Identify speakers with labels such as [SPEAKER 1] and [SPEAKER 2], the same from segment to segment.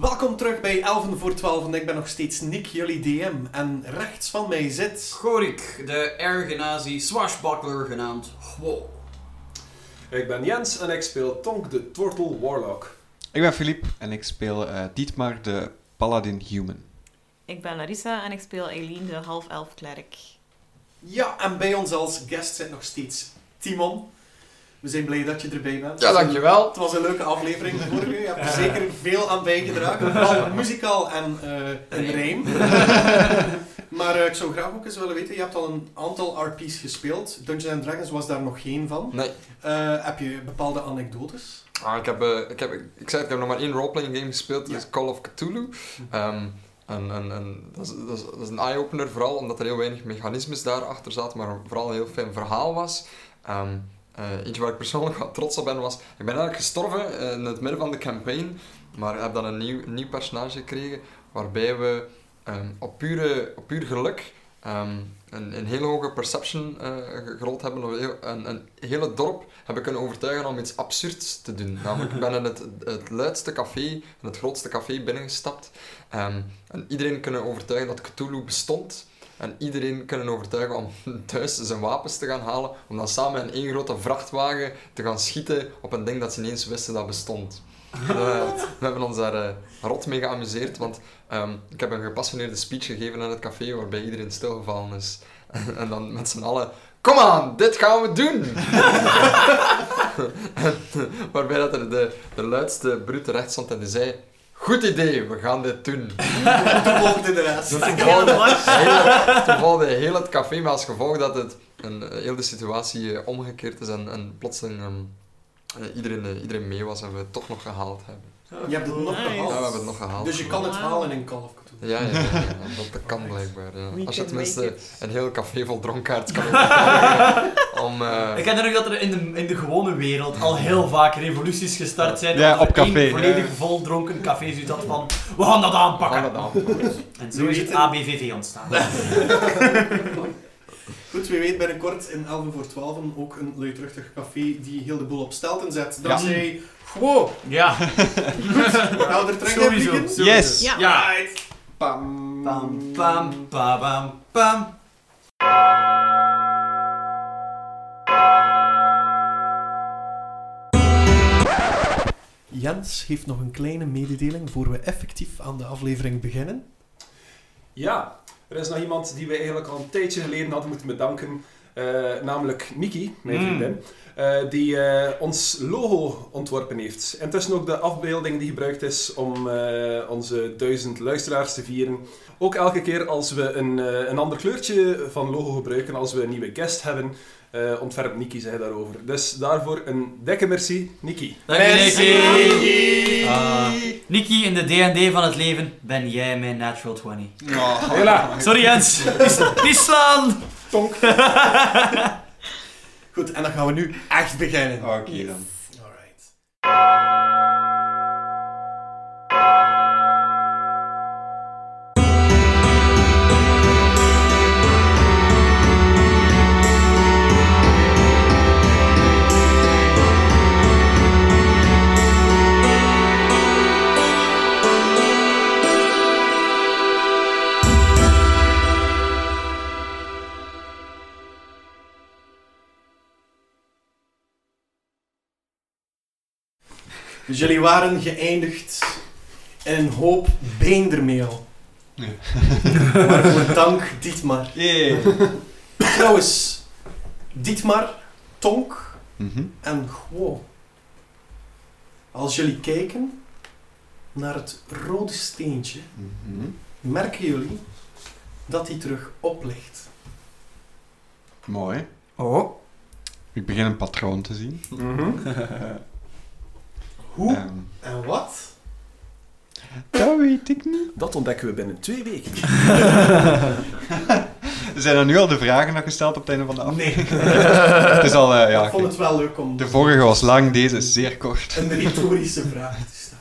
[SPEAKER 1] Welkom terug bij 11 voor 12 en ik ben nog steeds Nick, jullie DM. En rechts van mij zit...
[SPEAKER 2] Gorik, de ergenazi swashbuckler genaamd Wow.
[SPEAKER 3] Ik ben Jens en ik speel Tonk de Turtle Warlock.
[SPEAKER 4] Ik ben Filip en ik speel eh, Dietmar de Paladin Human.
[SPEAKER 5] Ik ben Larissa en ik speel Eileen, de half-elf klerk.
[SPEAKER 1] Ja, en bij ons als guest zit nog steeds Timon. We zijn blij dat je erbij bent.
[SPEAKER 6] Ja, dankjewel.
[SPEAKER 1] Het was een leuke aflevering de vorige. Je hebt er zeker veel aan bijgedragen. Vooral muzikaal en eh een rijm. maar eh, ik zou graag ook eens willen weten, je hebt al een aantal RP's gespeeld. Dungeons and Dragons was daar nog geen van.
[SPEAKER 6] Nee,
[SPEAKER 1] Eh, heb je bepaalde anekdotes?
[SPEAKER 6] ah, ik, heb, eh, ik, heb, ik zei het, ik heb nog maar één roleplaying game gespeeld, dat
[SPEAKER 1] Ja.
[SPEAKER 6] is Call of Cthulhu. Ehm, en en, en dat, is, dat, is, dat is een eye-opener, vooral omdat er heel weinig mechanismes daarachter zaten, maar vooral een heel fijn verhaal was. Ehm eh, eentje waar ik persoonlijk wat trots op ben was, ik ben eigenlijk gestorven eh, in het midden van de campaign, maar ik heb dan een nieuw, een nieuw personage gekregen, waarbij we ehm, op, pure, op puur geluk ehm, een, een heel hoge perception eh, ge- gerold hebben, of heel- een, een hele dorp hebben kunnen overtuigen om iets absurds te doen. Namelijk, ik ben in het, het luidste café, in het grootste café binnengestapt, ehm, en iedereen kunnen overtuigen dat Cthulhu bestond. En iedereen kunnen overtuigen om thuis zijn wapens te gaan halen, om dan samen in één grote vrachtwagen te gaan schieten op een ding dat ze ineens wisten dat bestond. Eh, we hebben ons daar eh, rot mee geamuseerd, want ehm, ik heb een gepassioneerde speech gegeven aan het café waarbij iedereen stilgevallen is. en dan met z'n allen, kom aan, dit gaan we doen! En, eh, waarbij dat er de, de luidste brute recht stond en die zei, goed idee, we gaan dit doen.
[SPEAKER 1] Toen volgde de rest.
[SPEAKER 6] Dus toen valde, heel, toen valde heel het café, maar als gevolg dat het een, eh, heel de situatie eh, omgekeerd is en, en plotseling ehm, eh, iedereen, eh, iedereen mee was en we het toch nog gehaald hebben.
[SPEAKER 1] Je hebt het nog
[SPEAKER 5] Nice.
[SPEAKER 6] Ja, we
[SPEAKER 1] gehaald.
[SPEAKER 6] hebben het nog gehaald.
[SPEAKER 1] Dus je kan het
[SPEAKER 5] Wauw.
[SPEAKER 1] halen in Call of Cthulhu.
[SPEAKER 6] Ja, ja, ja, ja, ja, dat, dat kan blijkbaar. Ja.
[SPEAKER 5] We
[SPEAKER 6] Als je
[SPEAKER 5] can
[SPEAKER 6] tenminste
[SPEAKER 5] make it.
[SPEAKER 6] een heel café vol dronkaards kan overtuigen om... eh,
[SPEAKER 7] Ik herinner me dat er in de, in de gewone wereld al heel vaak revoluties gestart zijn.
[SPEAKER 4] Ja,
[SPEAKER 7] omdat er
[SPEAKER 4] op
[SPEAKER 7] één
[SPEAKER 4] café.
[SPEAKER 7] volledig voldronken café zoiets had van, we gaan dat
[SPEAKER 6] we gaan
[SPEAKER 7] aanpakken.
[SPEAKER 6] dat aanpakken.
[SPEAKER 7] En zo is het ABVV ontstaan.
[SPEAKER 1] Goed, wie weet binnenkort in 11 voor 12 ook een luidruchtig café die heel de boel op stelten zet. Dat
[SPEAKER 4] Ja.
[SPEAKER 1] zij gewoon
[SPEAKER 7] Ja,
[SPEAKER 1] nou er terug in
[SPEAKER 7] sowieso.
[SPEAKER 1] vliegen.
[SPEAKER 7] sowieso.
[SPEAKER 4] Yes!
[SPEAKER 5] Ja.
[SPEAKER 7] Ja.
[SPEAKER 1] Pam.
[SPEAKER 7] Pam, pam, pam, pam, pam.
[SPEAKER 1] Jens heeft nog een kleine mededeling voor we effectief aan de aflevering beginnen.
[SPEAKER 3] Ja, er is nog iemand die we eigenlijk al een tijdje geleden hadden moeten bedanken. eh, namelijk Niki, mijn
[SPEAKER 7] Mm.
[SPEAKER 3] vriendin, eh, die eh, ons logo ontworpen heeft. En tussen ook de afbeelding die gebruikt is om eh, onze duizend luisteraars te vieren. Ook elke keer als we een, eh, een ander kleurtje van logo gebruiken, als we een nieuwe guest hebben, eh, ontwerpt Niki zich daarover. Dus daarvoor een dikke merci, Niki.
[SPEAKER 7] Dank je, Nicky. Ah, Nicky, in de D&D van het leven ben jij mijn natural 20.
[SPEAKER 3] Hela,
[SPEAKER 7] Sorry Jens, Niet- niet slaan!
[SPEAKER 3] tonk.
[SPEAKER 1] Goed, en dan gaan we nu echt beginnen.
[SPEAKER 4] Oké dan.
[SPEAKER 1] Alright. Dus jullie waren geëindigd in een hoop beendermeel.
[SPEAKER 4] Nee.
[SPEAKER 1] Waarvoor dank Dietmar. Trouwens, Dietmar, Tonk,
[SPEAKER 4] Mhm.
[SPEAKER 1] En gewoon, als jullie kijken naar het rode steentje,
[SPEAKER 4] Mhm.
[SPEAKER 1] merken jullie dat die terug oplicht.
[SPEAKER 4] Mooi.
[SPEAKER 7] Oh.
[SPEAKER 4] Ik begin een patroon te zien.
[SPEAKER 3] Mhm.
[SPEAKER 1] Hoe
[SPEAKER 4] Ehm,
[SPEAKER 1] en wat?
[SPEAKER 4] dat weet ik niet.
[SPEAKER 3] Dat ontdekken we binnen twee weken.
[SPEAKER 4] Zijn er nu al de vragen nog gesteld op het einde van de aflevering?
[SPEAKER 1] Nee,
[SPEAKER 4] Het is al, eh, Nou, ja,
[SPEAKER 1] ik vond
[SPEAKER 4] oké.
[SPEAKER 1] het wel leuk om
[SPEAKER 4] De vorige was lang, deze is zeer kort.
[SPEAKER 1] een retorische vraag te stellen.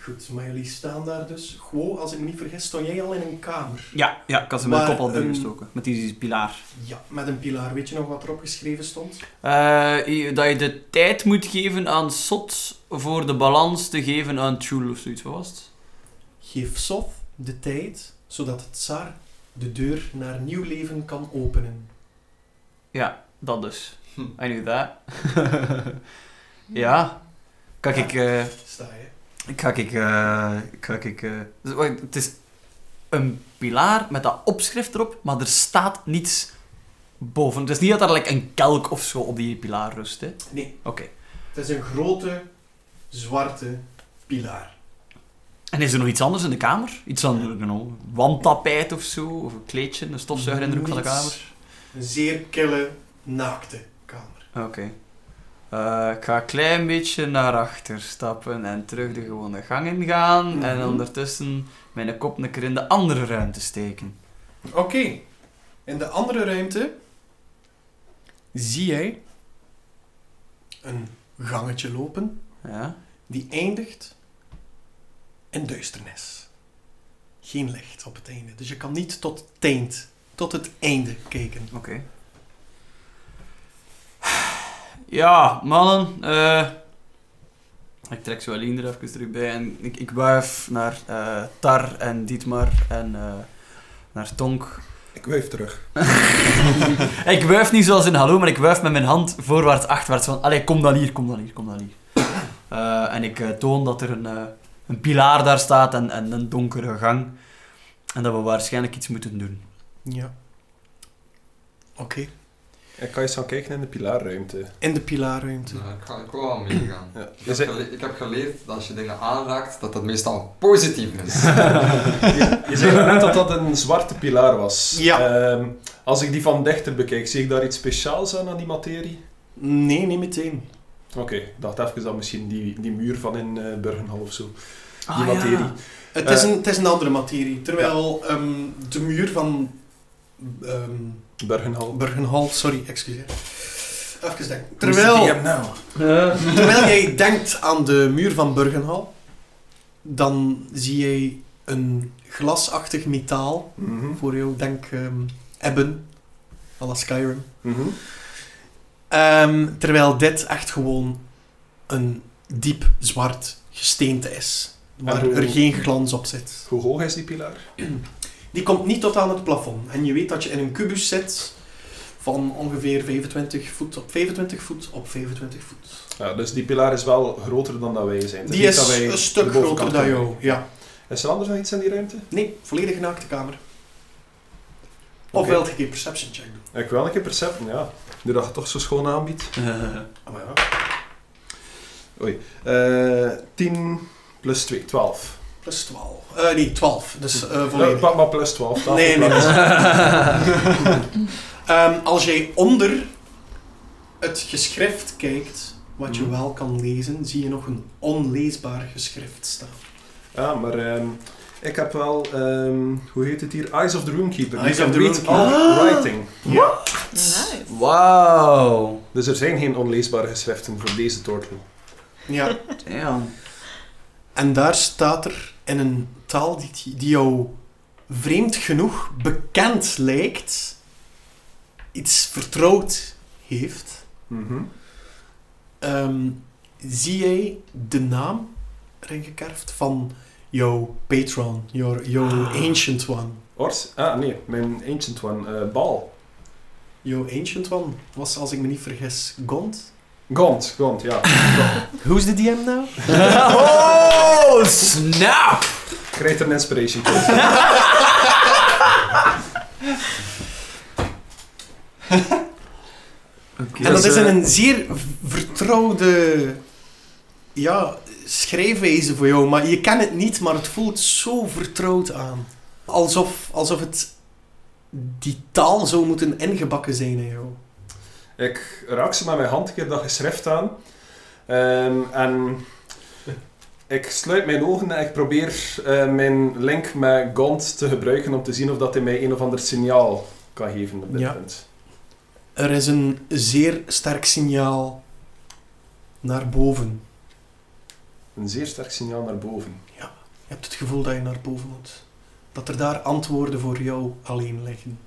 [SPEAKER 1] Goed, maar jullie staan daar dus. Gewoon, als ik me niet vergis, stond jij al in een kamer.
[SPEAKER 8] Ja, ja, ik had ze met de
[SPEAKER 1] Maar,
[SPEAKER 8] kop al
[SPEAKER 1] ehm,
[SPEAKER 8] doorgestoken. Met die, die pilaar.
[SPEAKER 1] Ja, met een pilaar. Weet je nog wat erop geschreven stond?
[SPEAKER 8] Eh, dat je de tijd moet geven aan Sot voor de balans te geven aan Tjoel of zoiets. Wat was het?
[SPEAKER 1] Geef Sof de tijd, zodat het tsar de deur naar nieuw leven kan openen.
[SPEAKER 8] Ja, dat dus.
[SPEAKER 7] Hm.
[SPEAKER 8] I knew that. ja. Kijk, ik... eh,
[SPEAKER 1] Sta je?
[SPEAKER 8] Ik ga ik, eh, ik ga ik, eh, dus, wacht, het is een pilaar met dat opschrift erop, maar er staat niets boven. Het is niet dat er like, een kelk of zo op die pilaar rust. Hè.
[SPEAKER 1] Nee.
[SPEAKER 8] Oké.
[SPEAKER 1] Het is een grote, zwarte pilaar.
[SPEAKER 8] En is er nog iets anders in de kamer? Iets van ik don't know, wandtapijt of zo? Of een kleedje, een stofzuiger in de hoek van de kamer?
[SPEAKER 1] Niets. Een zeer kille, naakte kamer.
[SPEAKER 8] Oké. Eh, ik ga een klein beetje naar achter stappen en terug de gewone gang in gaan. En
[SPEAKER 1] Mhm.
[SPEAKER 8] ondertussen mijn kop een keer in de andere ruimte steken.
[SPEAKER 1] Oké. In de andere ruimte zie jij een gangetje lopen
[SPEAKER 8] Ja?
[SPEAKER 1] die eindigt in duisternis. Geen licht op het einde. Dus je kan niet tot het eind, tot het einde kijken.
[SPEAKER 8] Oké. Ja, mannen. eh, ik trek zo Aline er even terug bij en ik, ik wuif naar eh, Tar en Dietmar en eh, naar Tonk.
[SPEAKER 9] Ik wuif terug.
[SPEAKER 8] ik wuif niet zoals in hallo, maar ik wuif met mijn hand voorwaarts, achterwaarts. Van, allee, kom dan hier, kom dan hier, kom dan hier. Eh, en ik eh, toon dat er een, eh, een pilaar daar staat en, en een donkere gang. En dat we waarschijnlijk iets moeten doen.
[SPEAKER 1] Ja. Oké.
[SPEAKER 3] En kan je eens gaan kijken in de pilaarruimte.
[SPEAKER 1] In de pilaarruimte.
[SPEAKER 6] Ja, ik, ga, ik wil wel meegaan.
[SPEAKER 1] Ah.
[SPEAKER 3] Ja.
[SPEAKER 6] Ik
[SPEAKER 3] Je,
[SPEAKER 6] heb,
[SPEAKER 3] zit-
[SPEAKER 6] gele- ik heb geleerd dat als je dingen aanraakt, dat dat meestal positief is.
[SPEAKER 3] je, je zei net dat dat een zwarte pilaar was.
[SPEAKER 1] Ja.
[SPEAKER 3] Ehm, als ik die van dichter bekijk, zie ik daar iets speciaals aan, aan die materie?
[SPEAKER 1] Nee, niet meteen.
[SPEAKER 3] Oké, ik dacht even dat misschien die, die muur van in eh Burgenhal of zo. Die
[SPEAKER 8] Ah, ja.
[SPEAKER 3] materie.
[SPEAKER 1] Het,
[SPEAKER 3] Eh,
[SPEAKER 1] is een, het is een andere materie. Terwijl ehm, de muur van ehm
[SPEAKER 3] Burgenhal.
[SPEAKER 1] Burgenhal, sorry, excuseer. Even denken.
[SPEAKER 9] Who's the
[SPEAKER 1] Terwijl,
[SPEAKER 9] DM now?
[SPEAKER 1] terwijl jij denkt aan de muur van Burgenhal, dan zie jij een glasachtig metaal
[SPEAKER 3] Mhm,
[SPEAKER 1] voor jou, denk ehm ebben, à la Skyrim.
[SPEAKER 3] mhm.
[SPEAKER 1] Ehm, terwijl dit echt gewoon een diep zwart gesteente is, waar
[SPEAKER 3] hoe-
[SPEAKER 1] er geen glans op zit.
[SPEAKER 3] Hoe hoog is die pilaar?
[SPEAKER 1] Die komt niet tot aan het plafond. En je weet dat je in een kubus zit van ongeveer 25 voet op 25 voet op 25 voet.
[SPEAKER 3] Ja, dus die pilaar is wel groter dan dat wij zijn. Het
[SPEAKER 1] Die
[SPEAKER 3] niet
[SPEAKER 1] is
[SPEAKER 3] dat wij
[SPEAKER 1] een
[SPEAKER 3] de
[SPEAKER 1] stuk
[SPEAKER 3] bovenkant
[SPEAKER 1] groter dan
[SPEAKER 3] hebben.
[SPEAKER 1] jou. Ja.
[SPEAKER 3] Is er anders nog iets in die ruimte?
[SPEAKER 1] Nee, volledig naakte kamer. Of
[SPEAKER 3] Oké.
[SPEAKER 1] wilt je een perception check doen?
[SPEAKER 3] Ik wil een keer percepten, ja. Nu dat je het toch zo schoon aanbiedt.
[SPEAKER 8] Eh.
[SPEAKER 3] Ah, maar ja. Oei. Eh 10 plus 2, 12.
[SPEAKER 1] Plus 12. Eh, nee, 12. Dus eh
[SPEAKER 3] Eh,
[SPEAKER 1] volledig.
[SPEAKER 3] pak maar plus 12. tafel
[SPEAKER 1] Nee, nee,
[SPEAKER 3] plaats.
[SPEAKER 1] Ehm, als jij onder het geschrift kijkt, wat je
[SPEAKER 3] Mhm.
[SPEAKER 1] wel kan lezen, zie je nog een onleesbaar geschrift staan.
[SPEAKER 3] Ja, maar ehm, ik heb wel, ehm, hoe heet het hier? Eyes of the Roomkeeper.
[SPEAKER 1] Eyes
[SPEAKER 3] You
[SPEAKER 1] of
[SPEAKER 3] can
[SPEAKER 1] the Ah!
[SPEAKER 3] read
[SPEAKER 1] Roomkeeper.
[SPEAKER 3] all Ah! writing.
[SPEAKER 5] Nice.
[SPEAKER 8] Wauw.
[SPEAKER 3] Dus er zijn geen onleesbare geschriften voor deze tortel.
[SPEAKER 1] Ja.
[SPEAKER 8] Damn.
[SPEAKER 1] En daar staat er in een taal die, die jou vreemd genoeg bekend lijkt, iets vertrouwd heeft,
[SPEAKER 3] Mhm.
[SPEAKER 1] ehm, zie jij de naam erin gekerfd van jouw patron, jouw, jouw ancient one.
[SPEAKER 3] Ors? Ah, nee. Mijn Ancient One. eh, Baal.
[SPEAKER 1] Jouw ancient one was, als ik me niet vergis, Gond.
[SPEAKER 3] Gond, Gond, ja.
[SPEAKER 1] Who's the DM now?
[SPEAKER 8] oh, snap!
[SPEAKER 3] Krijgt er een inspiration point.
[SPEAKER 1] En dat is in een zeer v- vertrouwde ja, schrijfwijze voor jou. Maar je kent het niet, maar het voelt zo vertrouwd aan. Alsof, alsof het die taal zou moeten ingebakken zijn in jou.
[SPEAKER 3] Ik raak ze met mijn hand een keer dat geschrift aan. Ehm, en ik sluit mijn ogen en ik probeer eh, mijn link met Gond te gebruiken om te zien of dat hij mij een of ander signaal kan geven op dit
[SPEAKER 1] Ja.
[SPEAKER 3] punt.
[SPEAKER 1] Er is een zeer sterk signaal naar boven.
[SPEAKER 3] Een zeer sterk signaal naar boven.
[SPEAKER 1] Ja. Je hebt het gevoel dat je naar boven moet. Dat er daar antwoorden voor jou alleen liggen.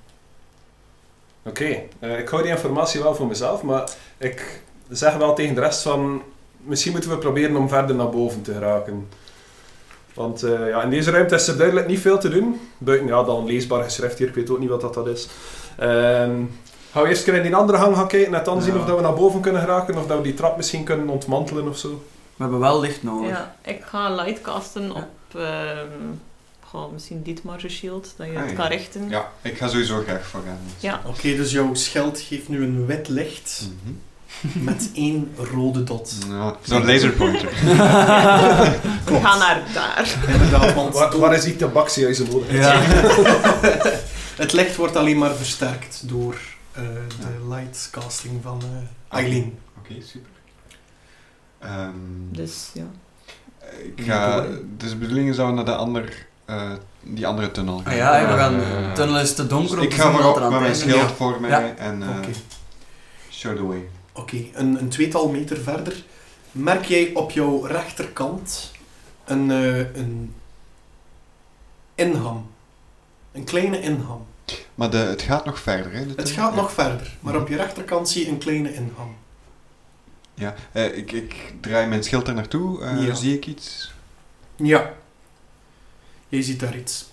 [SPEAKER 3] Oké, eh, ik hou die informatie wel voor mezelf, maar ik zeg wel tegen de rest van... Misschien moeten we proberen om verder naar boven te geraken. Want eh, ja, in deze ruimte is er duidelijk niet veel te doen. Buiten, ja, dan leesbaar geschrift hier, ik weet ook niet wat dat, dat is. Ehm gaan we eerst kunnen in die andere hang gaan kijken en dan zien
[SPEAKER 7] Ja.
[SPEAKER 3] of dat we naar boven kunnen geraken. Of dat we die trap misschien kunnen ontmantelen of zo.
[SPEAKER 7] We hebben wel licht nodig.
[SPEAKER 5] Ja, ik ga lightcasten op ehm, goh, misschien Dietmar shield, dat je
[SPEAKER 4] Ah,
[SPEAKER 5] het
[SPEAKER 4] ja.
[SPEAKER 5] kan richten.
[SPEAKER 4] Ja, ik ga sowieso graag voor gaan. dus.
[SPEAKER 5] Ja.
[SPEAKER 1] Oké, dus jouw scheld geeft nu een wit licht
[SPEAKER 4] Mhm.
[SPEAKER 1] met één rode dot.
[SPEAKER 4] Ja, Zo'n laserpointer.
[SPEAKER 5] We gaan naar daar.
[SPEAKER 1] Inderdaad, want
[SPEAKER 3] Waar, waar is die tabaksiehuizen nodig?
[SPEAKER 7] Ja.
[SPEAKER 1] het licht wordt alleen maar versterkt door eh, de lightcasting van eh, Eileen.
[SPEAKER 4] Oké, super. Ehm,
[SPEAKER 5] Dus ja.
[SPEAKER 4] ik ga, dus de bedoeling is dat we naar de ander, eh, die andere tunnel
[SPEAKER 7] Ah ja, we gaan...
[SPEAKER 6] Eh,
[SPEAKER 7] De tunnel is te donker
[SPEAKER 4] Dus
[SPEAKER 7] om
[SPEAKER 4] ik
[SPEAKER 7] te
[SPEAKER 4] ga
[SPEAKER 7] zien wat
[SPEAKER 4] voorop
[SPEAKER 7] er aan
[SPEAKER 4] met mijn
[SPEAKER 7] het einde
[SPEAKER 4] schild
[SPEAKER 7] is.
[SPEAKER 4] voor mij
[SPEAKER 7] Ja.
[SPEAKER 4] en eh,
[SPEAKER 1] Oké,
[SPEAKER 4] show the way.
[SPEAKER 1] Oké, een, een tweetal meter verder merk jij op jouw rechterkant een, eh, een inham. Een kleine inham.
[SPEAKER 4] Maar de, het gaat nog verder, hè? de
[SPEAKER 1] Het
[SPEAKER 4] tunnel?
[SPEAKER 1] gaat
[SPEAKER 4] Ja.
[SPEAKER 1] nog verder, maar op je rechterkant zie je een kleine inham.
[SPEAKER 4] Ja, eh, ik, ik draai mijn schild er naartoe. eh,
[SPEAKER 1] Ja.
[SPEAKER 4] Zie ik iets?
[SPEAKER 1] Ja. Jij ziet daar iets.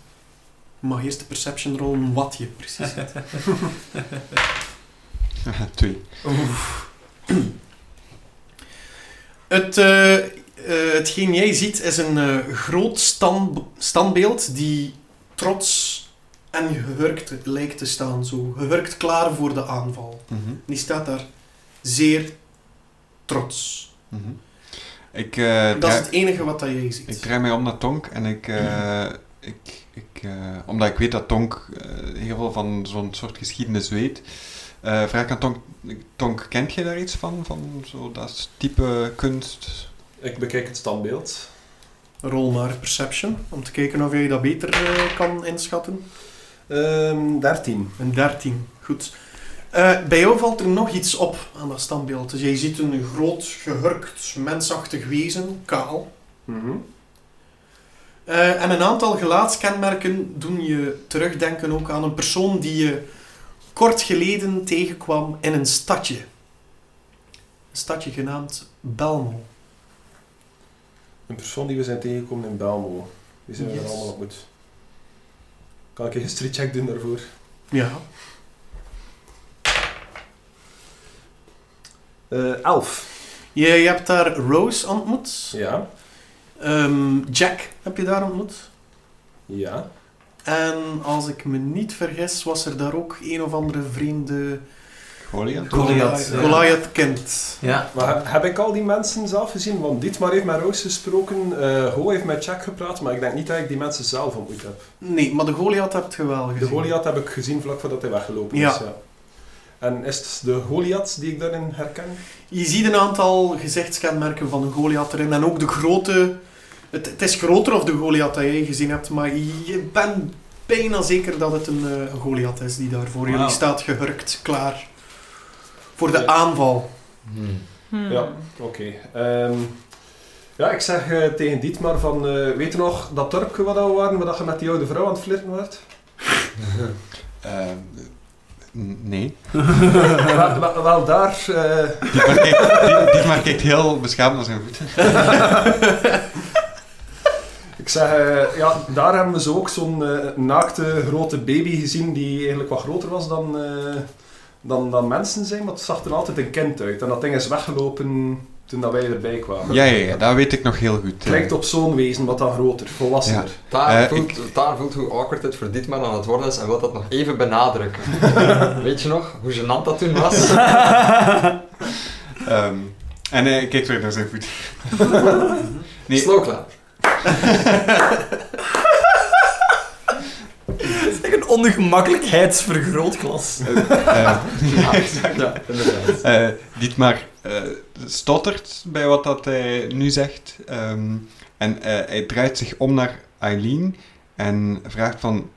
[SPEAKER 1] Je mag eerst de perception rollen wat je precies ziet.
[SPEAKER 4] Haha, Twee.
[SPEAKER 1] Het, eh, eh, hetgeen jij ziet is een eh, groot stand, standbeeld die trots en gehurkt lijkt te staan. Zo gehurkt klaar voor de aanval.
[SPEAKER 4] Mhm,
[SPEAKER 1] Die staat daar zeer trots.
[SPEAKER 4] mhm. Ik, eh,
[SPEAKER 1] dat is
[SPEAKER 4] draai,
[SPEAKER 1] het enige Mhm. wat dat jij ziet.
[SPEAKER 4] ik draai mij om naar Tonk en ik... eh, ik, ik eh, omdat ik weet dat Tonk eh, heel veel van zo'n soort geschiedenis weet, eh, vraag ik aan Tonk, Tonk, kent jij daar iets van? Van zo dat type kunst?
[SPEAKER 3] Ik bekijk het standbeeld.
[SPEAKER 1] Rol maar perception, om te kijken of jij dat beter eh, kan inschatten.
[SPEAKER 3] Ehm 13.
[SPEAKER 1] Een 13, goed. Eh, bij jou valt er nog iets op aan dat standbeeld. Dus jij ziet een groot, gehurkt, mensachtig wezen, kaal.
[SPEAKER 3] Mhm.
[SPEAKER 1] Eh, en een aantal gelaatskenmerken doen je terugdenken ook aan een persoon die je kort geleden tegenkwam in een stadje. Een stadje genaamd Belmo.
[SPEAKER 3] Een persoon die we zijn tegengekomen in Belmo. Die zijn we er
[SPEAKER 1] Yes.
[SPEAKER 3] allemaal ontmoet. Kan ik een street check doen daarvoor?
[SPEAKER 1] Ja.
[SPEAKER 3] Eh elf.
[SPEAKER 1] Je, je hebt daar Rose ontmoet.
[SPEAKER 3] Ja.
[SPEAKER 1] Ehm, Jack heb je daar ontmoet.
[SPEAKER 3] Ja.
[SPEAKER 1] En als ik me niet vergis, was er daar ook een of andere vreemde
[SPEAKER 4] Goliath?
[SPEAKER 7] Goliath,
[SPEAKER 1] eh.
[SPEAKER 7] ja.
[SPEAKER 1] Goliath-kind.
[SPEAKER 7] Ja.
[SPEAKER 3] Maar heb, heb ik al die mensen zelf gezien? Want Dietmar heeft met Roos gesproken, eh Ho heeft met Jack gepraat, maar ik denk niet dat ik die mensen zelf ontmoet heb.
[SPEAKER 1] Nee, maar de Goliath heb je wel gezien.
[SPEAKER 3] De Goliath heb ik gezien vlak voordat hij weggelopen
[SPEAKER 1] Ja.
[SPEAKER 3] is. Ja. En is het de Goliath die ik daarin herken?
[SPEAKER 1] Je ziet een aantal gezichtskenmerken van de Goliath erin. En ook de grote... Het, het is groter of de Goliath dat jij gezien hebt, maar je bent bijna zeker dat het een eh, een Goliath is die daar voor jullie
[SPEAKER 7] Wauw.
[SPEAKER 1] staat gehurkt, klaar. Voor de
[SPEAKER 3] Ja.
[SPEAKER 1] aanval.
[SPEAKER 5] Hmm.
[SPEAKER 3] Ja. Oké. ehm, ja, ik zeg eh, tegen Dietmar van, eh, weet je nog dat dorpje wat we waren, waar dat je met die oude vrouw aan het flirten werd?
[SPEAKER 4] Eh, n- nee.
[SPEAKER 3] wel, wel- wel daar... eh,
[SPEAKER 4] Dietmar kijkt, Die- Dietmar kijkt heel beschaamd naar zijn voeten.
[SPEAKER 3] Ik zeg, eh, ja, daar hebben we zo ook zo'n eh, naakte grote baby gezien die eigenlijk wat groter was dan, eh, dan, dan mensen zijn, maar het zag er altijd een kind uit. En dat ding is weggelopen toen dat wij erbij kwamen.
[SPEAKER 4] Ja, ja, ja, dat weet ik nog heel goed.
[SPEAKER 3] Het lijkt op zo'n wezen, wat dan groter, volwassener.
[SPEAKER 6] Daar,
[SPEAKER 4] Eh,
[SPEAKER 6] voelt, daar voelt hoe awkward het voor dit man aan het worden is en wil dat nog even benadrukken. Weet je nog hoe gênant dat toen was?
[SPEAKER 4] Ehm, en hij kijkt weer naar zijn voeten. Nee.
[SPEAKER 6] Slowclap.
[SPEAKER 7] Het is echt een ongemakkelijkheidsvergrootglas.
[SPEAKER 4] Eh,
[SPEAKER 6] Ja, ja, inderdaad.
[SPEAKER 4] eh, Dietmar eh, stottert bij wat dat hij nu zegt. Ehm, en eh, hij draait zich om naar Eileen en vraagt van...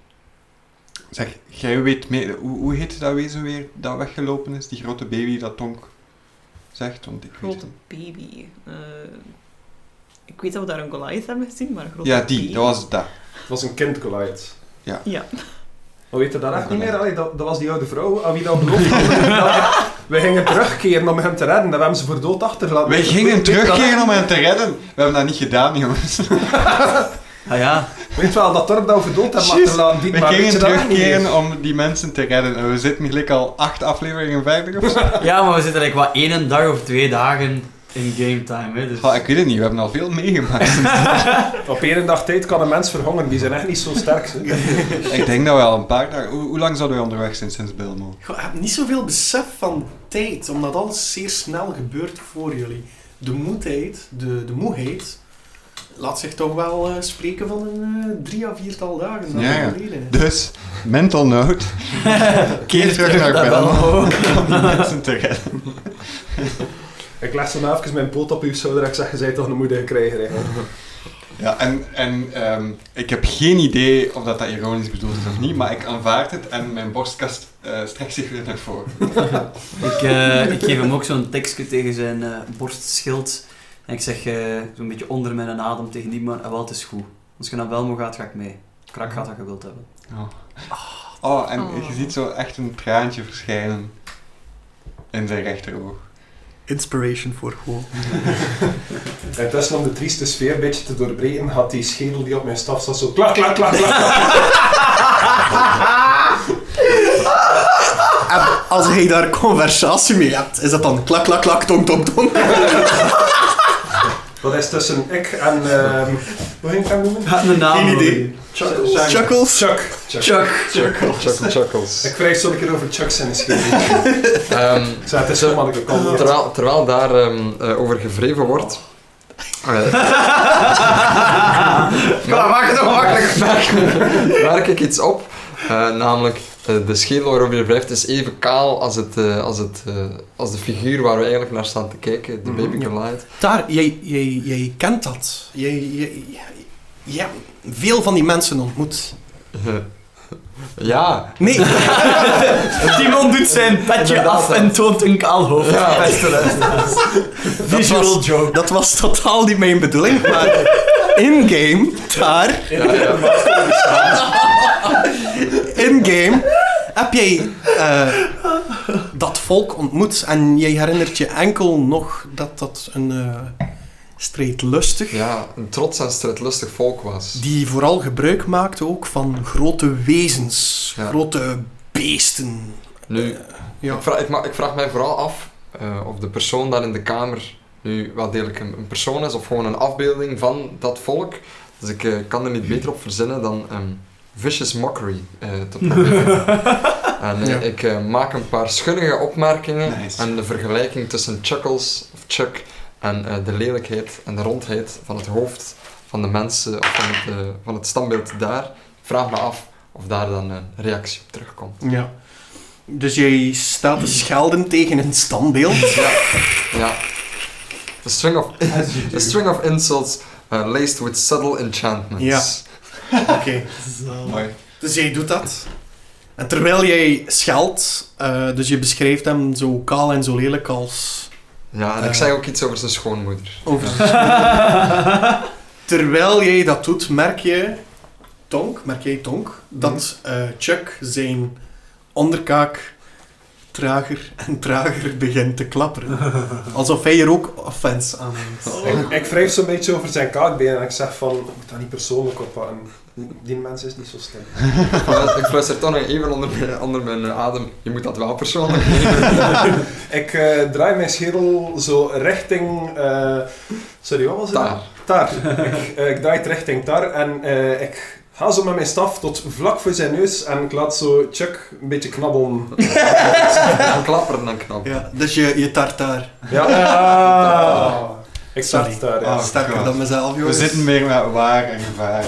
[SPEAKER 4] Zeg, jij weet meer... Hoe, hoe heet dat wezen weer dat weggelopen is? Die grote baby dat Tonk zegt? Want ik weet
[SPEAKER 5] Grote
[SPEAKER 4] het niet.
[SPEAKER 5] baby. Eh, Ik weet dat we daar een Goliath hebben gezien, maar een grote
[SPEAKER 4] Ja, die,
[SPEAKER 5] beer.
[SPEAKER 4] dat was dat.
[SPEAKER 3] Het was een kind Goliath.
[SPEAKER 5] Ja.
[SPEAKER 3] Maar weet je dat echt niet meer? Allee, dat, dat was die oude vrouw aan wie dat beloofd had. dat we gingen terugkeren om hem te redden. En we hebben ze voor dood achtergelaten.
[SPEAKER 4] Wij
[SPEAKER 3] Dus
[SPEAKER 4] gingen
[SPEAKER 3] weet dat-
[SPEAKER 4] terugkeren om hen te redden. We hebben dat niet gedaan, jongens.
[SPEAKER 8] Ah ja.
[SPEAKER 3] Weet wel, dat dorp dat we voor dood hebben
[SPEAKER 4] Jeez.
[SPEAKER 3] achtergelaten. Diet,
[SPEAKER 4] We
[SPEAKER 3] maar weet je
[SPEAKER 4] gingen
[SPEAKER 3] dat echt niet meer?
[SPEAKER 4] terugkeren om die mensen te redden. En we zitten gelijk al acht afleveringen verder of zo.
[SPEAKER 8] Ja, maar we zitten like, wat één dag of twee dagen in game time. Hè, dus...
[SPEAKER 4] Goh, Ah, ik weet het niet, we hebben al veel meegemaakt.
[SPEAKER 3] Op één dag tijd kan een mens verhongeren. Die zijn echt niet zo sterk. hè.
[SPEAKER 4] ik denk dat we al een paar dagen... Hoe, hoe lang zouden we onderweg zijn sinds Bilmo?
[SPEAKER 1] Goh, Ik heb niet zoveel besef van tijd, omdat alles zeer snel gebeurt voor jullie. De moedheid, de, de moeheid, laat zich toch wel eh, spreken van een eh, drie à viertal dagen dat
[SPEAKER 4] Ja, ja.
[SPEAKER 1] is geleden.
[SPEAKER 4] Dus, mental note. Keer terug naar
[SPEAKER 8] Dat
[SPEAKER 4] Belmo
[SPEAKER 8] wel.
[SPEAKER 4] om die mensen te redden.
[SPEAKER 3] Ik leg zo nou even mijn poot op uw schouder en ik zeg, je bent toch een moeder gekregen. hè.
[SPEAKER 4] Ja, en, en ehm, ik heb geen idee of dat, dat ironisch bedoeld is of niet, maar ik aanvaard het en mijn borstkast eh, strekt zich weer naar voren.
[SPEAKER 8] Ik, eh, ik geef hem ook zo'n tekstje tegen zijn eh, borstschild. En ik zeg eh, zo'n beetje onder mijn adem tegen die man, "Ah, wel, het is goed. Als je naar Welmo gaat, ga ik mee. Krak gaat dat je wilt hebben.
[SPEAKER 4] Oh, en
[SPEAKER 5] Oh.
[SPEAKER 4] je ziet zo echt een traantje verschijnen in zijn rechteroog.
[SPEAKER 1] Inspiration voor gewoon.
[SPEAKER 3] En tussen om de trieste sfeer een beetje te doorbreken, had die schedel die op mijn staf zat zo klak, klak, klak, klak. klak.
[SPEAKER 1] als jij daar conversatie mee hebt, is dat dan klak, klak, klak, tong, tong, tong?
[SPEAKER 3] Dat is tussen ik en... ehm hoe ging ik hem noemen?
[SPEAKER 8] Gaat een naam
[SPEAKER 1] Geen idee.
[SPEAKER 8] noemen.
[SPEAKER 3] Chuckles.
[SPEAKER 1] Chuckles.
[SPEAKER 3] Chuck.
[SPEAKER 8] Chuck.
[SPEAKER 6] Chuckle, chuckles.
[SPEAKER 3] Ik wrijf zo een keer over Chuck zijn schedel.
[SPEAKER 6] Ehm,
[SPEAKER 3] Ik zei, het is zo makkelijk gekomen.
[SPEAKER 6] terwijl, terwijl daar ehm, eh, over gevreven wordt... eh,
[SPEAKER 8] Kom, maak het makkelijk.
[SPEAKER 6] merk, merk ik iets op. Eh, namelijk, eh, de schedel waarover je blijft is even kaal als, het, eh, als, het, eh, als de figuur waar we eigenlijk naar staan te kijken, de
[SPEAKER 3] Mhm,
[SPEAKER 6] baby
[SPEAKER 1] ja.
[SPEAKER 6] Goliath.
[SPEAKER 1] Daar, jij, jij, jij kent dat. Jij, jij, jij- jij hebt veel van die mensen ontmoet.
[SPEAKER 6] ja,
[SPEAKER 1] Nee,
[SPEAKER 8] Timon doet zijn petje
[SPEAKER 6] Inderdaad,
[SPEAKER 8] af
[SPEAKER 6] hè.
[SPEAKER 8] en toont een kaal hoofd.
[SPEAKER 6] Ja.
[SPEAKER 8] Beste luisteraars. Visual
[SPEAKER 1] was-
[SPEAKER 8] joke.
[SPEAKER 1] dat was totaal niet mijn bedoeling, maar in-game, daar, in-game heb jij eh, dat volk ontmoet en jij herinnert je enkel nog dat dat een eh strijdlustig,
[SPEAKER 6] ja, een trots en strijdlustig volk was.
[SPEAKER 1] die vooral gebruik maakte ook van grote wezens,
[SPEAKER 6] Ja.
[SPEAKER 1] grote beesten.
[SPEAKER 6] Nu,
[SPEAKER 1] Ja.
[SPEAKER 6] ik, vraag, ik, ma- ik vraag mij vooral af eh, of de persoon daar in de kamer nu wel degelijk een, een persoon is of gewoon een afbeelding van dat volk. Dus ik eh, kan er niet beter op verzinnen dan ehm, vicious mockery eh, te proberen. en eh,
[SPEAKER 1] Ja.
[SPEAKER 6] ik eh, maak een paar schunnige opmerkingen
[SPEAKER 4] Nice.
[SPEAKER 6] en de vergelijking tussen Chuckles of Chuck en eh, de lelijkheid en de rondheid van het hoofd van de mensen of van het, eh, van het standbeeld daar. Ik vraag me af of daar dan een reactie op terugkomt.
[SPEAKER 1] Ja. Dus jij staat te schelden tegen een standbeeld.
[SPEAKER 6] Ja. A string of, a string of insults uh, laced with subtle enchantments.
[SPEAKER 1] Ja. Oké.
[SPEAKER 4] Mooi.
[SPEAKER 1] Dus jij doet dat. En terwijl jij scheldt, eh, dus je beschrijft hem zo kaal en zo lelijk als
[SPEAKER 6] Ja, en ik
[SPEAKER 1] Eh.
[SPEAKER 6] zei ook iets over zijn schoonmoeder.
[SPEAKER 1] over zijn schoenen. Terwijl jij dat doet, merk je, Tonk, merk jij Tonk, dat eh, Chuck zijn onderkaak trager en trager begint te klapperen. Alsof hij er ook offense aan heeft.
[SPEAKER 3] Ik, ik wrijf zo'n beetje over zijn kaakbeen en ik zeg van, ik moet dat niet persoonlijk oppakken. Die mens is niet zo slim.
[SPEAKER 6] Ik fluis- ik fluister toch nog even onder mijn, onder mijn eh, adem. Je moet dat wel persoonlijk nemen.
[SPEAKER 3] Ik eh, draai mijn schedel zo richting... eh, sorry, wat was het?
[SPEAKER 6] Daar.
[SPEAKER 3] Daar. Ik, eh, ik draai het richting daar en eh, ik ga zo met mijn staf tot vlak voor zijn neus en ik laat zo Chuck een beetje knabbelen.
[SPEAKER 6] En klapperen en knap.
[SPEAKER 1] Ja, dus je, je tartaar.
[SPEAKER 3] Ja. Ah. Ik sta
[SPEAKER 1] Sorry.
[SPEAKER 3] daar, ja.
[SPEAKER 4] Oh,
[SPEAKER 1] Ah, Sterker
[SPEAKER 4] God.
[SPEAKER 1] dan mezelf,
[SPEAKER 4] We
[SPEAKER 1] jongens.
[SPEAKER 4] zitten weer met waar en gevaar.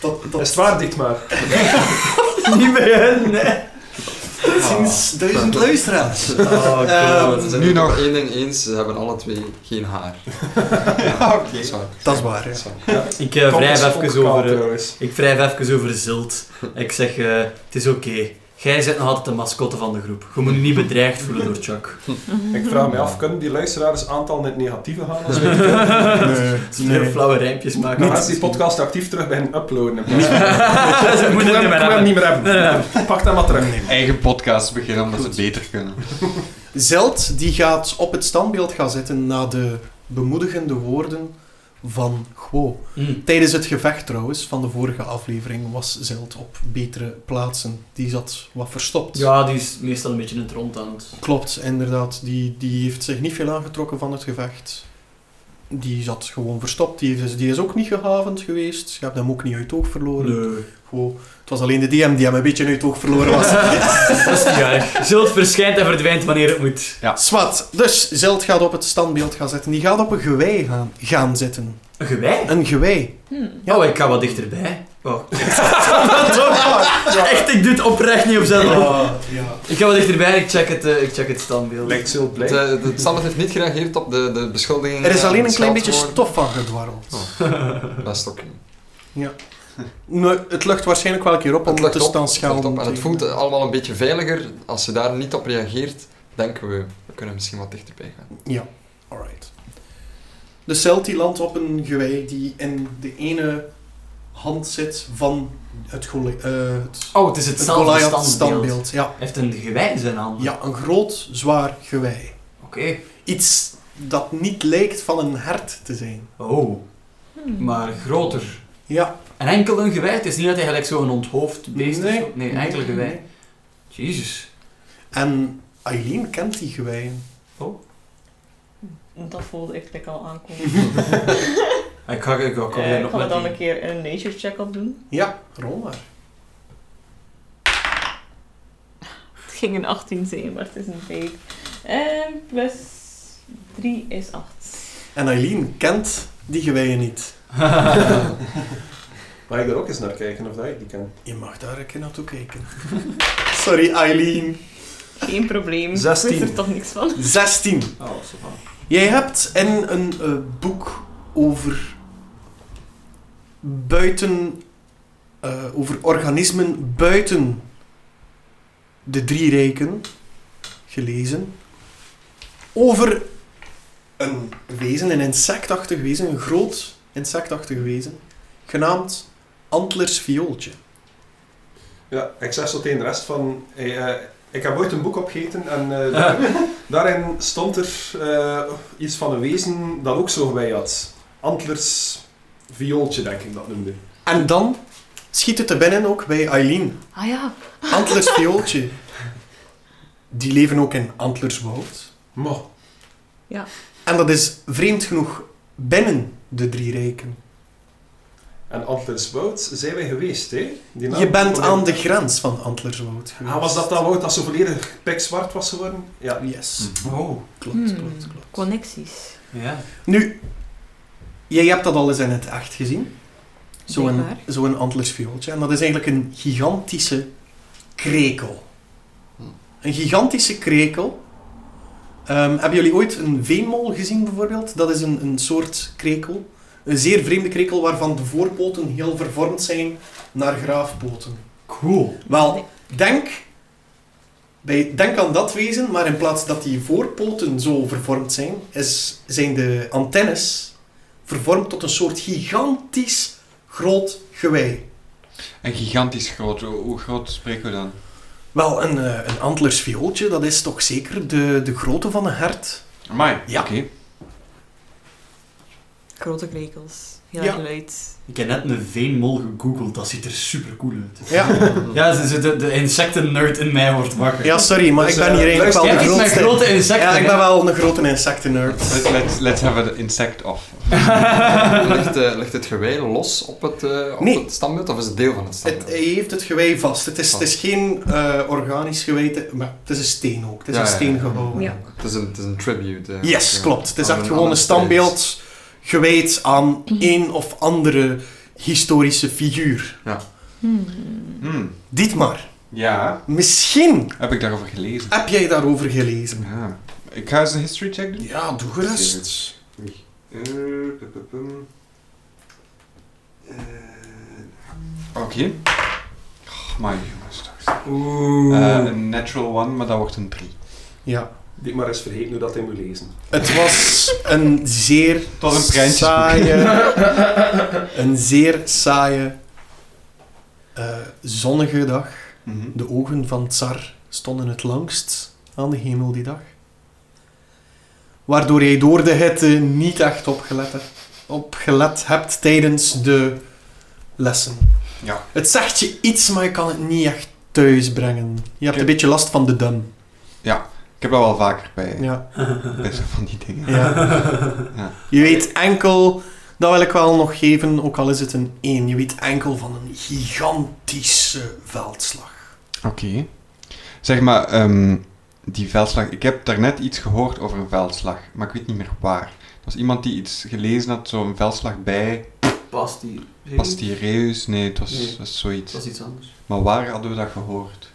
[SPEAKER 1] Tot, tot
[SPEAKER 3] Is het waar, Dietmar?
[SPEAKER 8] Niet bij hen, nee. Ah.
[SPEAKER 1] ziens, duizend luisteraars.
[SPEAKER 8] Oh,
[SPEAKER 1] Ehm,
[SPEAKER 6] Ze zijn
[SPEAKER 4] Nu
[SPEAKER 6] nu
[SPEAKER 4] nog.
[SPEAKER 6] nog één ding eens, ze hebben alle twee geen haar.
[SPEAKER 4] Ja, oké.
[SPEAKER 6] Dat is waar.
[SPEAKER 1] Dat is waar, ja.
[SPEAKER 8] Ik eh,
[SPEAKER 3] Tom
[SPEAKER 8] wrijf
[SPEAKER 3] is ook
[SPEAKER 8] even
[SPEAKER 3] kaal,
[SPEAKER 8] over... eh,
[SPEAKER 3] trouwens.
[SPEAKER 8] Ik wrijf even over Zilt. Ik zeg, eh, het is oké.
[SPEAKER 7] Jij bent nog altijd de mascotte van de groep. Je moet je niet bedreigd voelen door Chuck.
[SPEAKER 3] Ik vraag me af, kunnen die luisteraars aantal net negatieve gaan? Als we
[SPEAKER 4] Nee,
[SPEAKER 7] Ze nee. flauwe rijmpjes maken.
[SPEAKER 3] als die podcast actief terug beginnen uploaden.
[SPEAKER 7] Ze
[SPEAKER 3] Ik
[SPEAKER 7] moeten
[SPEAKER 3] wil
[SPEAKER 7] het niet meer
[SPEAKER 3] hem
[SPEAKER 7] hebben.
[SPEAKER 3] niet meer hebben.
[SPEAKER 7] Nee, nee,
[SPEAKER 3] Pak dat maar terug.
[SPEAKER 4] Eigen podcast beginnen omdat ze het beter kunnen.
[SPEAKER 1] Zeld die gaat op het standbeeld gaan zitten na de bemoedigende woorden van Guo.
[SPEAKER 7] Mm.
[SPEAKER 1] Tijdens het gevecht trouwens van de vorige aflevering was Zeld op betere plaatsen. Die zat wat verstopt.
[SPEAKER 7] Ja, die is meestal een beetje in het rond aan het...
[SPEAKER 1] Klopt, inderdaad. Die, die heeft zich niet veel aangetrokken van het gevecht. Die zat gewoon verstopt. Die is, die is ook niet gehavend geweest. Je hebt hem ook niet uit het oog verloren. Gewoon, het was alleen de DM die hem een beetje uit het oog verloren was.
[SPEAKER 7] Dat is niet erg. Zult verschijnt en verdwijnt wanneer het moet.
[SPEAKER 1] Swat, dus Zeld gaat op het standbeeld gaan zitten. Die gaat op een gewei gaan, gaan zitten.
[SPEAKER 7] Een gewei?
[SPEAKER 1] Een gewei.
[SPEAKER 5] Hmm.
[SPEAKER 7] Ja, ik ga wat dichterbij.
[SPEAKER 1] Oh.
[SPEAKER 7] Wow. Echt, ik doe het oprecht niet op zelf.
[SPEAKER 1] ja.
[SPEAKER 7] Ik ga wat dichterbij en ik check het, eh, ik check het standbeeld.
[SPEAKER 3] Lijkt zo blij.
[SPEAKER 6] Het, eh, de- het standaard heeft niet gereageerd op de, eh, de beschuldigingen.
[SPEAKER 1] Er is
[SPEAKER 6] en
[SPEAKER 1] alleen een
[SPEAKER 6] de
[SPEAKER 1] klein beetje
[SPEAKER 6] scheldwoorden.
[SPEAKER 1] stof van gedwarreld.
[SPEAKER 6] Oh. Best oké.
[SPEAKER 1] Nee, het lucht waarschijnlijk wel een keer op,
[SPEAKER 6] Het lucht
[SPEAKER 1] ondertussen
[SPEAKER 6] op,
[SPEAKER 1] dan
[SPEAKER 6] het lucht
[SPEAKER 1] schelden.
[SPEAKER 6] op en het voelt allemaal een beetje veiliger. Als je daar niet op reageert, denken we, we kunnen misschien wat dichterbij gaan.
[SPEAKER 1] Ja, alright. De celt die landt op een gewei die in de ene hand zit van het, gole- eh, het,
[SPEAKER 7] Oh, het is
[SPEAKER 1] het
[SPEAKER 7] hetzelfde
[SPEAKER 1] Goliath
[SPEAKER 7] standbeeld.
[SPEAKER 1] standbeeld. Ja.
[SPEAKER 7] Hij heeft een gewei in zijn hand.
[SPEAKER 1] ja, een groot, zwaar gewei.
[SPEAKER 7] Oké.
[SPEAKER 1] Iets dat niet lijkt van een hert te zijn.
[SPEAKER 7] Oh,
[SPEAKER 5] Hmm.
[SPEAKER 7] maar groter.
[SPEAKER 1] Ja.
[SPEAKER 7] En enkel een gewei. Het is niet dat hij gelijk zo'n onthoofd beest
[SPEAKER 1] Nee.
[SPEAKER 7] of zo. Nee, enkel een gewei. Jezus.
[SPEAKER 1] En Eileen kent die geweien.
[SPEAKER 5] Dat voelde echt lekker al aankomen.
[SPEAKER 7] Ik ga, ik ga, ik ga
[SPEAKER 5] Eh,
[SPEAKER 7] weer
[SPEAKER 5] ik
[SPEAKER 7] op
[SPEAKER 5] ga
[SPEAKER 7] met
[SPEAKER 5] dan een
[SPEAKER 7] die-
[SPEAKER 5] keer een nature check op doen.
[SPEAKER 1] Ja, rol maar.
[SPEAKER 5] Het ging een 18 zijn, maar het is een fake. En plus 3 is 8.
[SPEAKER 1] En Eileen kent die geweien niet.
[SPEAKER 7] eh,
[SPEAKER 3] Mag ik daar ook eens naar kijken of dat ik die kan?
[SPEAKER 1] Je mag daar een keer naartoe kijken. Sorry, Eileen.
[SPEAKER 5] Geen probleem.
[SPEAKER 3] 16.
[SPEAKER 5] Ik wist er toch niks van.
[SPEAKER 1] 16.
[SPEAKER 7] Oh, zo van.
[SPEAKER 1] Jij hebt in een eh, boek over buiten, eh, over organismen buiten de drie rijken gelezen over een wezen, een insectachtig wezen, een groot insectachtig wezen, genaamd antlersviooltje.
[SPEAKER 3] Ja, ik zeg zo tegen de rest van... hey, eh, ik heb ooit een boek opgegeten en eh, daar- daarin stond er eh, iets van een wezen dat ook zo'n gewei had. Antlers viooltje, denk ik dat noemde.
[SPEAKER 1] En dan schiet het er binnen ook bij Eileen.
[SPEAKER 5] Ah ja.
[SPEAKER 1] Antlersviooltje. Die leven ook in antlerswoud.
[SPEAKER 3] Maar,
[SPEAKER 1] En dat is vreemd genoeg binnen de drie rijken.
[SPEAKER 3] en Antlerswoud zijn wij geweest, hè? Die naam
[SPEAKER 1] Je bent
[SPEAKER 3] komt in-
[SPEAKER 1] aan de grens van Antlerswoud geweest.
[SPEAKER 3] Ah, was dat dat woud dat zo volledig pikzwart was geworden? Ja.
[SPEAKER 1] Yes.
[SPEAKER 7] Oh,
[SPEAKER 1] Klopt, klopt, klopt.
[SPEAKER 5] Connecties.
[SPEAKER 7] ja.
[SPEAKER 1] Nu, jij hebt dat al eens in het echt gezien. Zo'n
[SPEAKER 5] Blijkbaar.
[SPEAKER 1] zo'n antlersviooltje. En dat is eigenlijk een gigantische krekel.
[SPEAKER 3] Hmm.
[SPEAKER 1] Een gigantische krekel. Ehm, hebben jullie ooit een veenmol gezien bijvoorbeeld? Dat is een, een soort krekel. Een zeer vreemde krekel waarvan de voorpoten heel vervormd zijn naar graafpoten.
[SPEAKER 7] Cool.
[SPEAKER 1] Wel, Denk, bij, denk aan dat wezen, maar in plaats dat die voorpoten zo vervormd zijn, is, zijn de antennes vervormd tot een soort gigantisch groot gewei.
[SPEAKER 4] En gigantisch groot. Hoe hoe groot spreken we dan?
[SPEAKER 1] Wel, een, eh, een antlersviooltje, dat is toch zeker de, de grootte van een hert?
[SPEAKER 4] Amai,
[SPEAKER 1] Ja.
[SPEAKER 4] oké.
[SPEAKER 5] Grote krekels. Heel
[SPEAKER 1] Ja.
[SPEAKER 5] erg luid.
[SPEAKER 7] Ik heb net een veenmol gegoogeld, dat ziet er super cool uit.
[SPEAKER 1] Ja,
[SPEAKER 7] Ja, ze- ze- de, de insecten-nerd in mij wordt wakker.
[SPEAKER 1] ja sorry, maar
[SPEAKER 3] Dus,
[SPEAKER 1] ik ben
[SPEAKER 3] eh,
[SPEAKER 1] hier eigenlijk wel
[SPEAKER 7] Jij
[SPEAKER 1] de
[SPEAKER 7] bent mijn
[SPEAKER 1] grootste.
[SPEAKER 7] grote insecten.
[SPEAKER 1] ja, ik ben
[SPEAKER 7] hè?
[SPEAKER 1] wel een grote insectennerd.
[SPEAKER 4] Let- Let's, let's have the insect off.
[SPEAKER 6] ligt, eh, ligt het gewei los op het, eh op
[SPEAKER 1] Nee.
[SPEAKER 6] het standbeeld of is het deel van het standbeeld?
[SPEAKER 1] Het, hij heeft het gewei vast. Het is, het is geen eh, organisch gewei, te- maar het is een steen ook. Het is
[SPEAKER 6] Ja,
[SPEAKER 1] een
[SPEAKER 6] ja, ja.
[SPEAKER 1] steen gehouden.
[SPEAKER 5] Ja.
[SPEAKER 6] Het is een, het is een tribute. eh,
[SPEAKER 1] Yes,
[SPEAKER 6] ja.
[SPEAKER 1] klopt. Het is
[SPEAKER 6] Aan
[SPEAKER 1] echt
[SPEAKER 6] aan
[SPEAKER 1] gewoon een standbeeld gewijd aan een of andere historische figuur.
[SPEAKER 5] Hmm.
[SPEAKER 4] Hmm.
[SPEAKER 1] Dietmar,
[SPEAKER 4] Ja,
[SPEAKER 1] misschien
[SPEAKER 4] heb ik daarover gelezen.
[SPEAKER 1] heb jij daarover gelezen.
[SPEAKER 4] Ja. Ik ga eens een history check doen.
[SPEAKER 1] Ja, doe gerust.
[SPEAKER 4] Eh, pu- pu- pum. Eh, Oké. Oh, my jongens, toch.
[SPEAKER 3] Oeh.
[SPEAKER 4] Eh, een natural one, maar dat wordt een 3.
[SPEAKER 1] Ja.
[SPEAKER 3] Die maar eens vergeten hoe dat hij moet lezen.
[SPEAKER 1] Het was een zeer
[SPEAKER 4] was een prijntjesboek.
[SPEAKER 1] saaie, een zeer saaie, eh, zonnige dag.
[SPEAKER 4] Mhm.
[SPEAKER 1] De ogen van Tsar stonden het langst aan de hemel die dag. Waardoor hij door de hitte niet echt opgelet, hebt- opgelet hebt tijdens de lessen.
[SPEAKER 4] Ja.
[SPEAKER 1] Het zegt je iets, maar je kan het niet echt thuisbrengen. Je hebt een beetje last van de dum.
[SPEAKER 4] Ik heb dat wel vaker bij,
[SPEAKER 1] Ja.
[SPEAKER 4] bij zo van die dingen.
[SPEAKER 1] ja.
[SPEAKER 4] Ja.
[SPEAKER 1] Je weet enkel, dat wil ik wel nog geven, ook al is het een 1. Je weet enkel van een gigantische veldslag.
[SPEAKER 4] Oké. Zeg maar, ehm, die veldslag. Ik heb daarnet iets gehoord over een veldslag, maar ik weet niet meer waar. Er was iemand die iets gelezen had, zo'n veldslag bij
[SPEAKER 2] Past die.
[SPEAKER 4] Pastireus. Nee, het was,
[SPEAKER 2] Nee.
[SPEAKER 4] was zoiets.
[SPEAKER 2] Dat is iets anders.
[SPEAKER 4] Maar waar hadden we dat gehoord?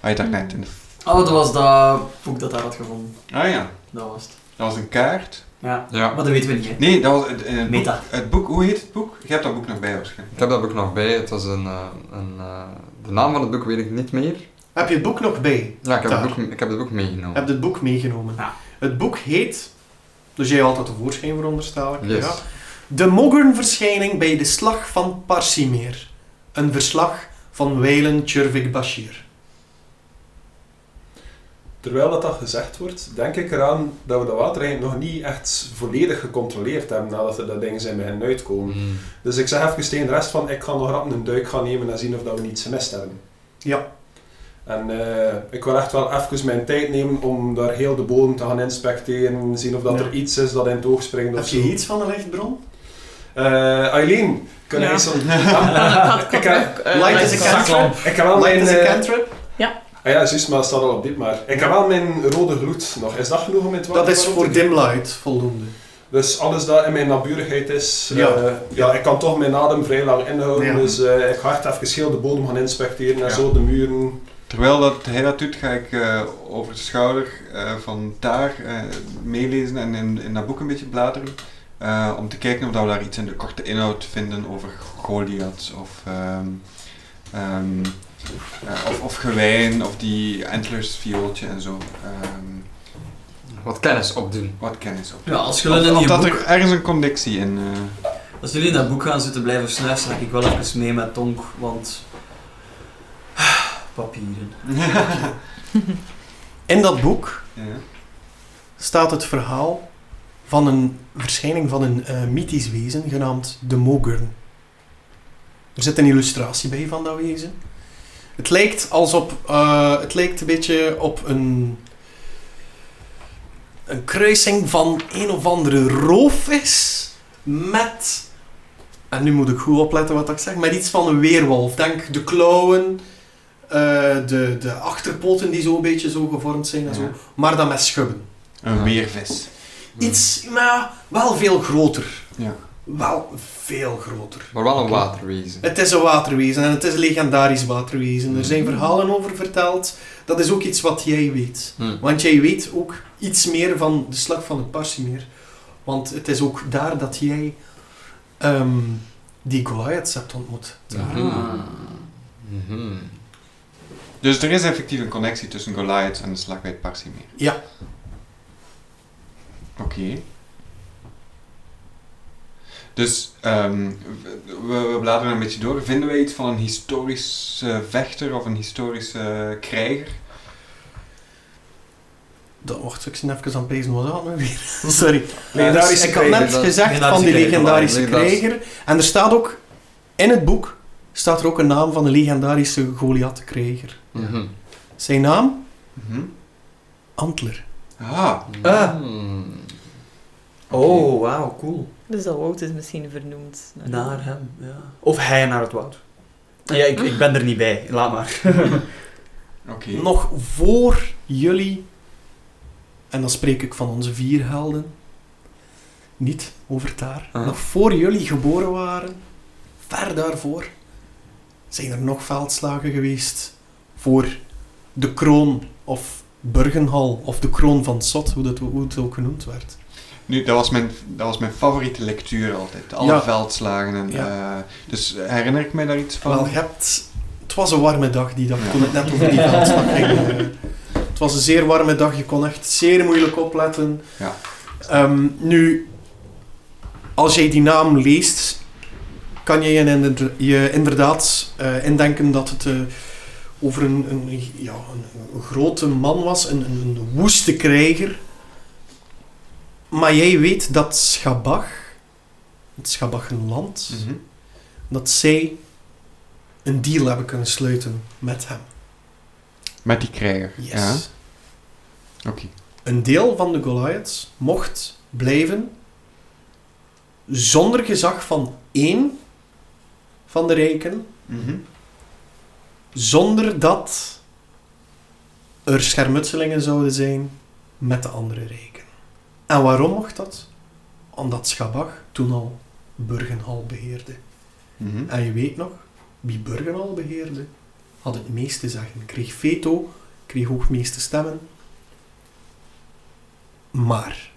[SPEAKER 4] Ah, je daarnet in de... f-
[SPEAKER 7] Ah,
[SPEAKER 2] Oh, dat was dat boek dat daar had gevonden.
[SPEAKER 4] Ah ja,
[SPEAKER 2] Dat was het.
[SPEAKER 4] dat was een kaart.
[SPEAKER 2] Ja.
[SPEAKER 6] Ja,
[SPEAKER 2] Maar dat weten we niet, hè.
[SPEAKER 4] Nee, dat was het, in het,
[SPEAKER 7] Meta.
[SPEAKER 4] Boek, het boek. Hoe heet het boek? Je hebt dat boek nog bij waarschijnlijk.
[SPEAKER 6] ik heb dat boek nog bij. Het was een, eh, een, eh, de naam van het boek weet ik niet meer.
[SPEAKER 1] Heb je het boek nog bij?
[SPEAKER 6] Ja, ik heb,
[SPEAKER 1] Daar.
[SPEAKER 6] het boek, ik heb het boek meegenomen.
[SPEAKER 1] Heb je het boek meegenomen?
[SPEAKER 2] Ja.
[SPEAKER 1] Het boek heet, dus jij haalt dat tevoorschijn veronderstel ik.
[SPEAKER 6] Yes.
[SPEAKER 1] Ja. De Moggenverschijning bij de Slag van Parsimeer. Een verslag van Weilen Tjurvik Bashir.
[SPEAKER 3] Terwijl dat, dat gezegd wordt, denk ik eraan dat we dat water eigenlijk nog niet echt volledig gecontroleerd hebben nadat er dat ding zijn beginnen uitkomen.
[SPEAKER 6] Mm.
[SPEAKER 3] Dus ik zeg even tegen de rest van, ik ga nog rap een duik gaan nemen en zien of dat we niets gemist hebben.
[SPEAKER 1] Ja.
[SPEAKER 3] En eh, ik wil echt wel even mijn tijd nemen om daar heel de bodem te gaan inspecteren, zien of dat
[SPEAKER 1] Ja.
[SPEAKER 3] er iets is dat in het oog springt
[SPEAKER 1] Heb
[SPEAKER 3] of zo.
[SPEAKER 1] je iets van een lichtbron?
[SPEAKER 3] Eh, Eileen, kun jij
[SPEAKER 5] Ja.
[SPEAKER 3] zo'n... ik,
[SPEAKER 5] Ik
[SPEAKER 3] heb,
[SPEAKER 1] Light is
[SPEAKER 5] een
[SPEAKER 1] a cantrip.
[SPEAKER 3] ik heb wel
[SPEAKER 1] Light
[SPEAKER 3] mijn...
[SPEAKER 1] is a
[SPEAKER 3] eh,
[SPEAKER 1] cantrip.
[SPEAKER 3] ah ja, juist, maar het staat al op dit maar. Ik heb wel mijn rode gloed nog. Is dat genoeg om het water
[SPEAKER 1] Dat is
[SPEAKER 3] warm te
[SPEAKER 1] voor
[SPEAKER 3] krijgen?
[SPEAKER 1] dim light voldoende.
[SPEAKER 3] Dus alles dat in mijn naburigheid is, eh,
[SPEAKER 1] Ja.
[SPEAKER 3] ja. ik kan toch mijn adem vrij lang inhouden.
[SPEAKER 1] Ja.
[SPEAKER 3] Dus eh, ik ga echt even heel de bodem gaan inspecteren en
[SPEAKER 4] Ja.
[SPEAKER 3] zo de muren.
[SPEAKER 4] Terwijl dat hij dat doet, ga ik eh, over de schouder eh, van daar eh, meelezen en in, in dat boek een beetje bladeren. eh, om te kijken of dat we daar iets in de korte inhoud vinden over Goliath of, ehm, ehm, eh, of, of gewijn of die antlers viooltje en zo. Ehm,
[SPEAKER 6] Wat kennis opdoen.
[SPEAKER 4] wat kennis op.
[SPEAKER 7] Ja, als
[SPEAKER 4] Of,
[SPEAKER 7] jullie in
[SPEAKER 4] of
[SPEAKER 7] die
[SPEAKER 4] dat
[SPEAKER 7] boek-
[SPEAKER 4] er ergens een connectie in. eh,
[SPEAKER 7] Als jullie in dat boek gaan zitten blijven snuiven, dan ga ik wel even mee met Tonk, want... Papieren.
[SPEAKER 1] In dat boek
[SPEAKER 4] ja.
[SPEAKER 1] staat het verhaal van een verschijning van een eh, mythisch wezen genaamd de Mogurn. Er zit een illustratie bij van dat wezen. Het lijkt alsof eh, het lijkt een beetje op een een kruising van een of andere roofvis met en nu moet ik goed opletten wat ik zeg, met iets van een weerwolf. Denk de klauwen, eh, de, de achterpoten die zo een beetje zo gevormd zijn en zo,
[SPEAKER 4] Ja.
[SPEAKER 1] maar dan met schubben.
[SPEAKER 4] Een weervis.
[SPEAKER 1] Iets, maar wel veel groter.
[SPEAKER 4] Ja.
[SPEAKER 1] Wel veel groter.
[SPEAKER 6] Maar wel een
[SPEAKER 4] Oké.
[SPEAKER 6] waterwezen.
[SPEAKER 1] Het is een waterwezen en het is een legendarisch waterwezen. Er zijn verhalen over verteld. Dat is ook iets wat jij weet.
[SPEAKER 6] Hmm.
[SPEAKER 1] Want jij weet ook iets meer van de slag van het Parsimeer. Want het is ook daar dat jij ehm, die Goliaths hebt ontmoet.
[SPEAKER 2] Ah.
[SPEAKER 6] Mhm. Mhm.
[SPEAKER 4] Dus er is effectief een connectie tussen Goliath en de slag bij het Parsimeer.
[SPEAKER 1] Ja.
[SPEAKER 4] Oké. Dus ehm, we, we bladeren een beetje door. Vinden we iets van een historische vechter of een historische krijger?
[SPEAKER 1] Dat wacht, ik zit even aan het pezen. Wat is dat nu weer? Sorry.
[SPEAKER 3] Legendarische
[SPEAKER 1] ik had
[SPEAKER 3] krijger,
[SPEAKER 1] net
[SPEAKER 6] dat-
[SPEAKER 1] gezegd van die
[SPEAKER 7] legendarische
[SPEAKER 1] legendarische
[SPEAKER 6] krijger, legendarische-
[SPEAKER 1] krijger. En er staat ook, in het boek, staat er ook een naam van de legendarische Goliath-krijger.
[SPEAKER 6] Mhm.
[SPEAKER 1] Zijn naam?
[SPEAKER 4] Mhm.
[SPEAKER 1] Antler.
[SPEAKER 4] Ah,
[SPEAKER 2] Ah.
[SPEAKER 6] Mm.
[SPEAKER 2] Oh, wauw, cool.
[SPEAKER 5] Dus dat woud is misschien vernoemd.
[SPEAKER 2] Naar hem, ja. Of hij naar het woud. Ja, ik, ik ben er niet bij. Laat maar.
[SPEAKER 4] oké.
[SPEAKER 1] Nog voor jullie, en dan spreek ik van onze vier helden, niet over daar,
[SPEAKER 6] Ah.
[SPEAKER 1] nog voor jullie geboren waren, ver daarvoor, zijn er nog veldslagen geweest voor de kroon of Burgenhal of de kroon van Sot, hoe, dat, hoe het ook genoemd werd.
[SPEAKER 4] Nu, dat was, mijn, dat was mijn favoriete lectuur altijd. Alle
[SPEAKER 1] Ja.
[SPEAKER 4] veldslagen. En,
[SPEAKER 1] Ja.
[SPEAKER 4] eh, dus herinner ik mij daar iets van?
[SPEAKER 1] Wel, je hebt Het was een warme dag die dag, toen het net over die veldslag ging. Eh, Het was een zeer warme dag, je kon echt zeer moeilijk opletten.
[SPEAKER 4] Ja.
[SPEAKER 1] Ehm, nu, als jij die naam leest, kan je je, inder- je inderdaad eh, indenken dat het eh, over een, een, ja, een, een grote man was, een, een, een woeste krijger. Maar jij weet dat Schabach, het Schabachenland,
[SPEAKER 4] Mhm.
[SPEAKER 1] dat zij een deal hebben kunnen sluiten met hem.
[SPEAKER 4] Met die krijger.
[SPEAKER 1] Yes.
[SPEAKER 4] Ja. Oké.
[SPEAKER 1] Een deel van de Goliaths mocht blijven zonder gezag van één van de rijken, zonder dat er schermutselingen zouden zijn met de andere rijken. En waarom mocht dat? Omdat Schabach toen al Burgenhal beheerde.
[SPEAKER 4] Mhm.
[SPEAKER 1] En je weet nog, wie Burgenal beheerde, had het meeste zeggen. Kreeg veto, kreeg ook het meeste stemmen. Maar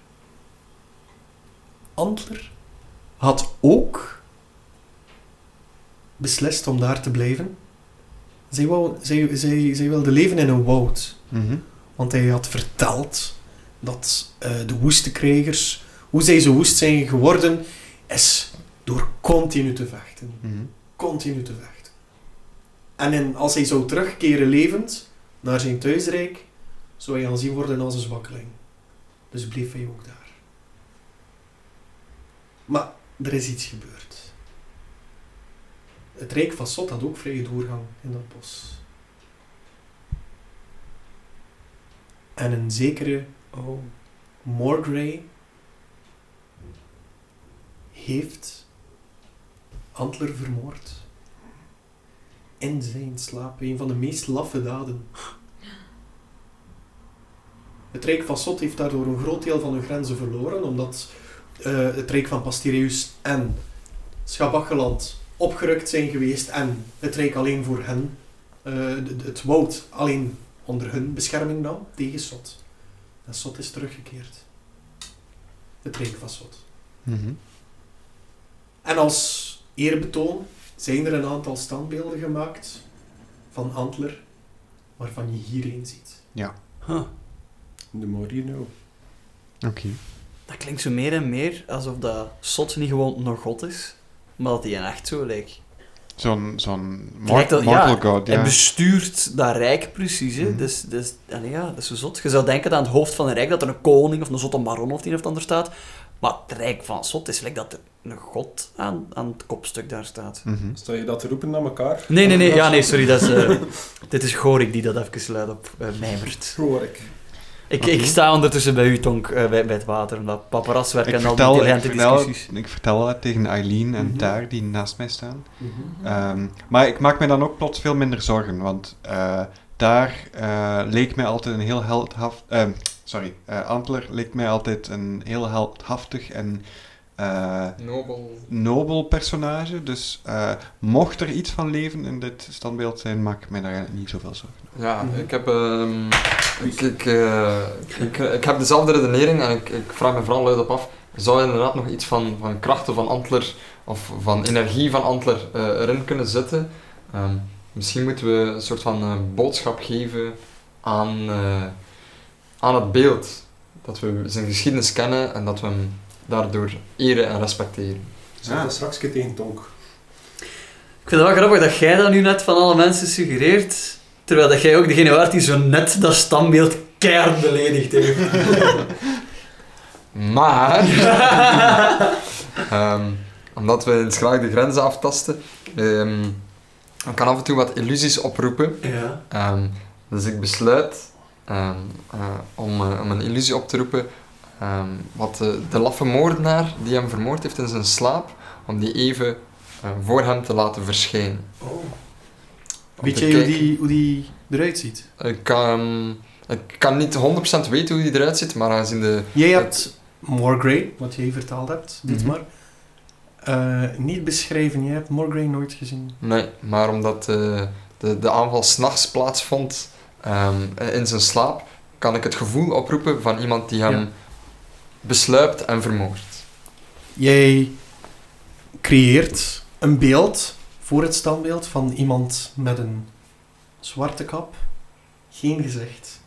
[SPEAKER 1] Antler had ook beslist om daar te blijven. Zij, wou, zij, zij, zij wilde leven in een woud.
[SPEAKER 4] Mhm.
[SPEAKER 1] Want hij had verteld dat eh, de woeste krijgers, hoe zij zo woest zijn geworden, is door continu te vechten.
[SPEAKER 4] Mhm.
[SPEAKER 1] Continu te vechten. En in- als hij zou terugkeren levend naar zijn thuisrijk, zou hij aanzien worden als een zwakkeling. Dus bleef hij ook daar. Maar er is iets gebeurd. Het Rijk van Sot had ook vrije doorgang in dat bos. En een zekere oh. Morgrey heeft Antler vermoord. In zijn slaap. Een van de meest laffe daden. Het Rijk van Sot heeft daardoor een groot deel van hun grenzen verloren, omdat eh, het Rijk van Pastireus en Schabacheland opgerukt zijn geweest en het Rijk alleen voor hen, eh, d- d- het woud alleen onder hun bescherming dan tegen Sot. En Sot is teruggekeerd. Het rijk van Sot.
[SPEAKER 4] Mhm.
[SPEAKER 1] En als eerbetoon zijn er een aantal standbeelden gemaakt van Antler, waarvan je hierheen ziet.
[SPEAKER 3] The more you know.
[SPEAKER 4] Oké.
[SPEAKER 2] Dat klinkt zo meer en meer alsof dat Sot niet gewoon nog god is, maar dat hij een echt zo lijkt.
[SPEAKER 4] Zo'n zo'n
[SPEAKER 2] Lijkt
[SPEAKER 4] mor-
[SPEAKER 2] dat-
[SPEAKER 4] mortal
[SPEAKER 2] ja,
[SPEAKER 4] god, ja.
[SPEAKER 2] Hij
[SPEAKER 1] dus
[SPEAKER 2] bestuurt dat rijk precies, hè.
[SPEAKER 4] Mhm.
[SPEAKER 2] Dus, dus, allee, ja, dat is zo zot. Je zou denken dat aan het hoofd van een rijk dat er een koning of een zotte baron of het een of het ander staat, maar het rijk van Sot is gelijk dat er een god aan, aan het kopstuk daar staat.
[SPEAKER 4] Mhm.
[SPEAKER 3] Sta je dat te roepen naar elkaar?
[SPEAKER 2] Nee, nee, nee. Ja, nee, sorry. Dat is, eh, dit is Gorik die dat even luid op eh, mijmert.
[SPEAKER 3] Hoor ik.
[SPEAKER 2] Ik,
[SPEAKER 4] Oké.
[SPEAKER 2] ik sta ondertussen bij u, Tonk, eh, bij, bij het water. Omdat paparaswerk
[SPEAKER 4] Ik
[SPEAKER 2] en al die
[SPEAKER 4] vertel, ik,
[SPEAKER 2] intelligente
[SPEAKER 4] vertel,
[SPEAKER 2] discussies.
[SPEAKER 4] ik vertel dat tegen Eileen en
[SPEAKER 1] Mhm.
[SPEAKER 4] daar, die naast mij staan.
[SPEAKER 6] Mhm.
[SPEAKER 4] Ehm, maar ik maak me dan ook plots veel minder zorgen, want eh, daar eh, leek mij altijd een heel heldhaftig... sorry, eh, Antler leek mij altijd een heel heldhaftig en eh,
[SPEAKER 6] Nobel.
[SPEAKER 4] nobel personage. Dus eh, mocht er iets van leven in dit standbeeld zijn, maak ik mij daar eigenlijk niet zoveel zorgen.
[SPEAKER 6] Ja,
[SPEAKER 1] Mhm.
[SPEAKER 6] ik heb... ehm, ik, ik, eh, ik, ik heb dezelfde redenering en ik, ik vraag me vooral luid op af. Zou je inderdaad nog iets van, van krachten van Antler of van energie van Antler eh, erin kunnen zetten? Ehm, misschien moeten we een soort van eh, boodschap geven aan, eh, aan het beeld. Dat we zijn geschiedenis kennen en dat we hem daardoor eren en respecteren.
[SPEAKER 3] Zeg dat straks een keer tegen Tonk.
[SPEAKER 8] Ik vind het wel grappig dat jij dat nu net van alle mensen suggereert, terwijl dat jij ook degene waart die zo net dat standbeeld keihard beledigd heeft.
[SPEAKER 6] Maar, ehm, omdat we eens graag de grenzen aftasten, ehm, ik kan af en toe wat illusies oproepen.
[SPEAKER 8] Ja.
[SPEAKER 6] Ehm, dus ik besluit ehm, eh, om, eh, om een illusie op te roepen. ehm, wat de, de laffe moordenaar die hem vermoord heeft in zijn slaap, om die even eh, voor hem te laten verschijnen.
[SPEAKER 3] Oh.
[SPEAKER 6] Om
[SPEAKER 1] Weet
[SPEAKER 6] te
[SPEAKER 1] jij hoe
[SPEAKER 6] kijken-
[SPEAKER 1] die, hoe die eruit ziet?
[SPEAKER 6] Ik kan, ik kan niet 100% weten hoe die eruit ziet, maar aangezien de...
[SPEAKER 1] Jij
[SPEAKER 6] Het-
[SPEAKER 1] hebt Morgrey, wat jij vertaald hebt, dit
[SPEAKER 6] Mhm.
[SPEAKER 1] maar, eh, niet beschreven. Jij hebt Morgrey nooit gezien.
[SPEAKER 6] Nee, maar omdat eh, de, de aanval s'nachts plaatsvond ehm, in zijn slaap, kan ik het gevoel oproepen van iemand die hem
[SPEAKER 1] Ja.
[SPEAKER 6] besluipt en vermoordt.
[SPEAKER 1] Jij creëert een beeld voor het standbeeld van iemand met een zwarte kap, geen gezicht.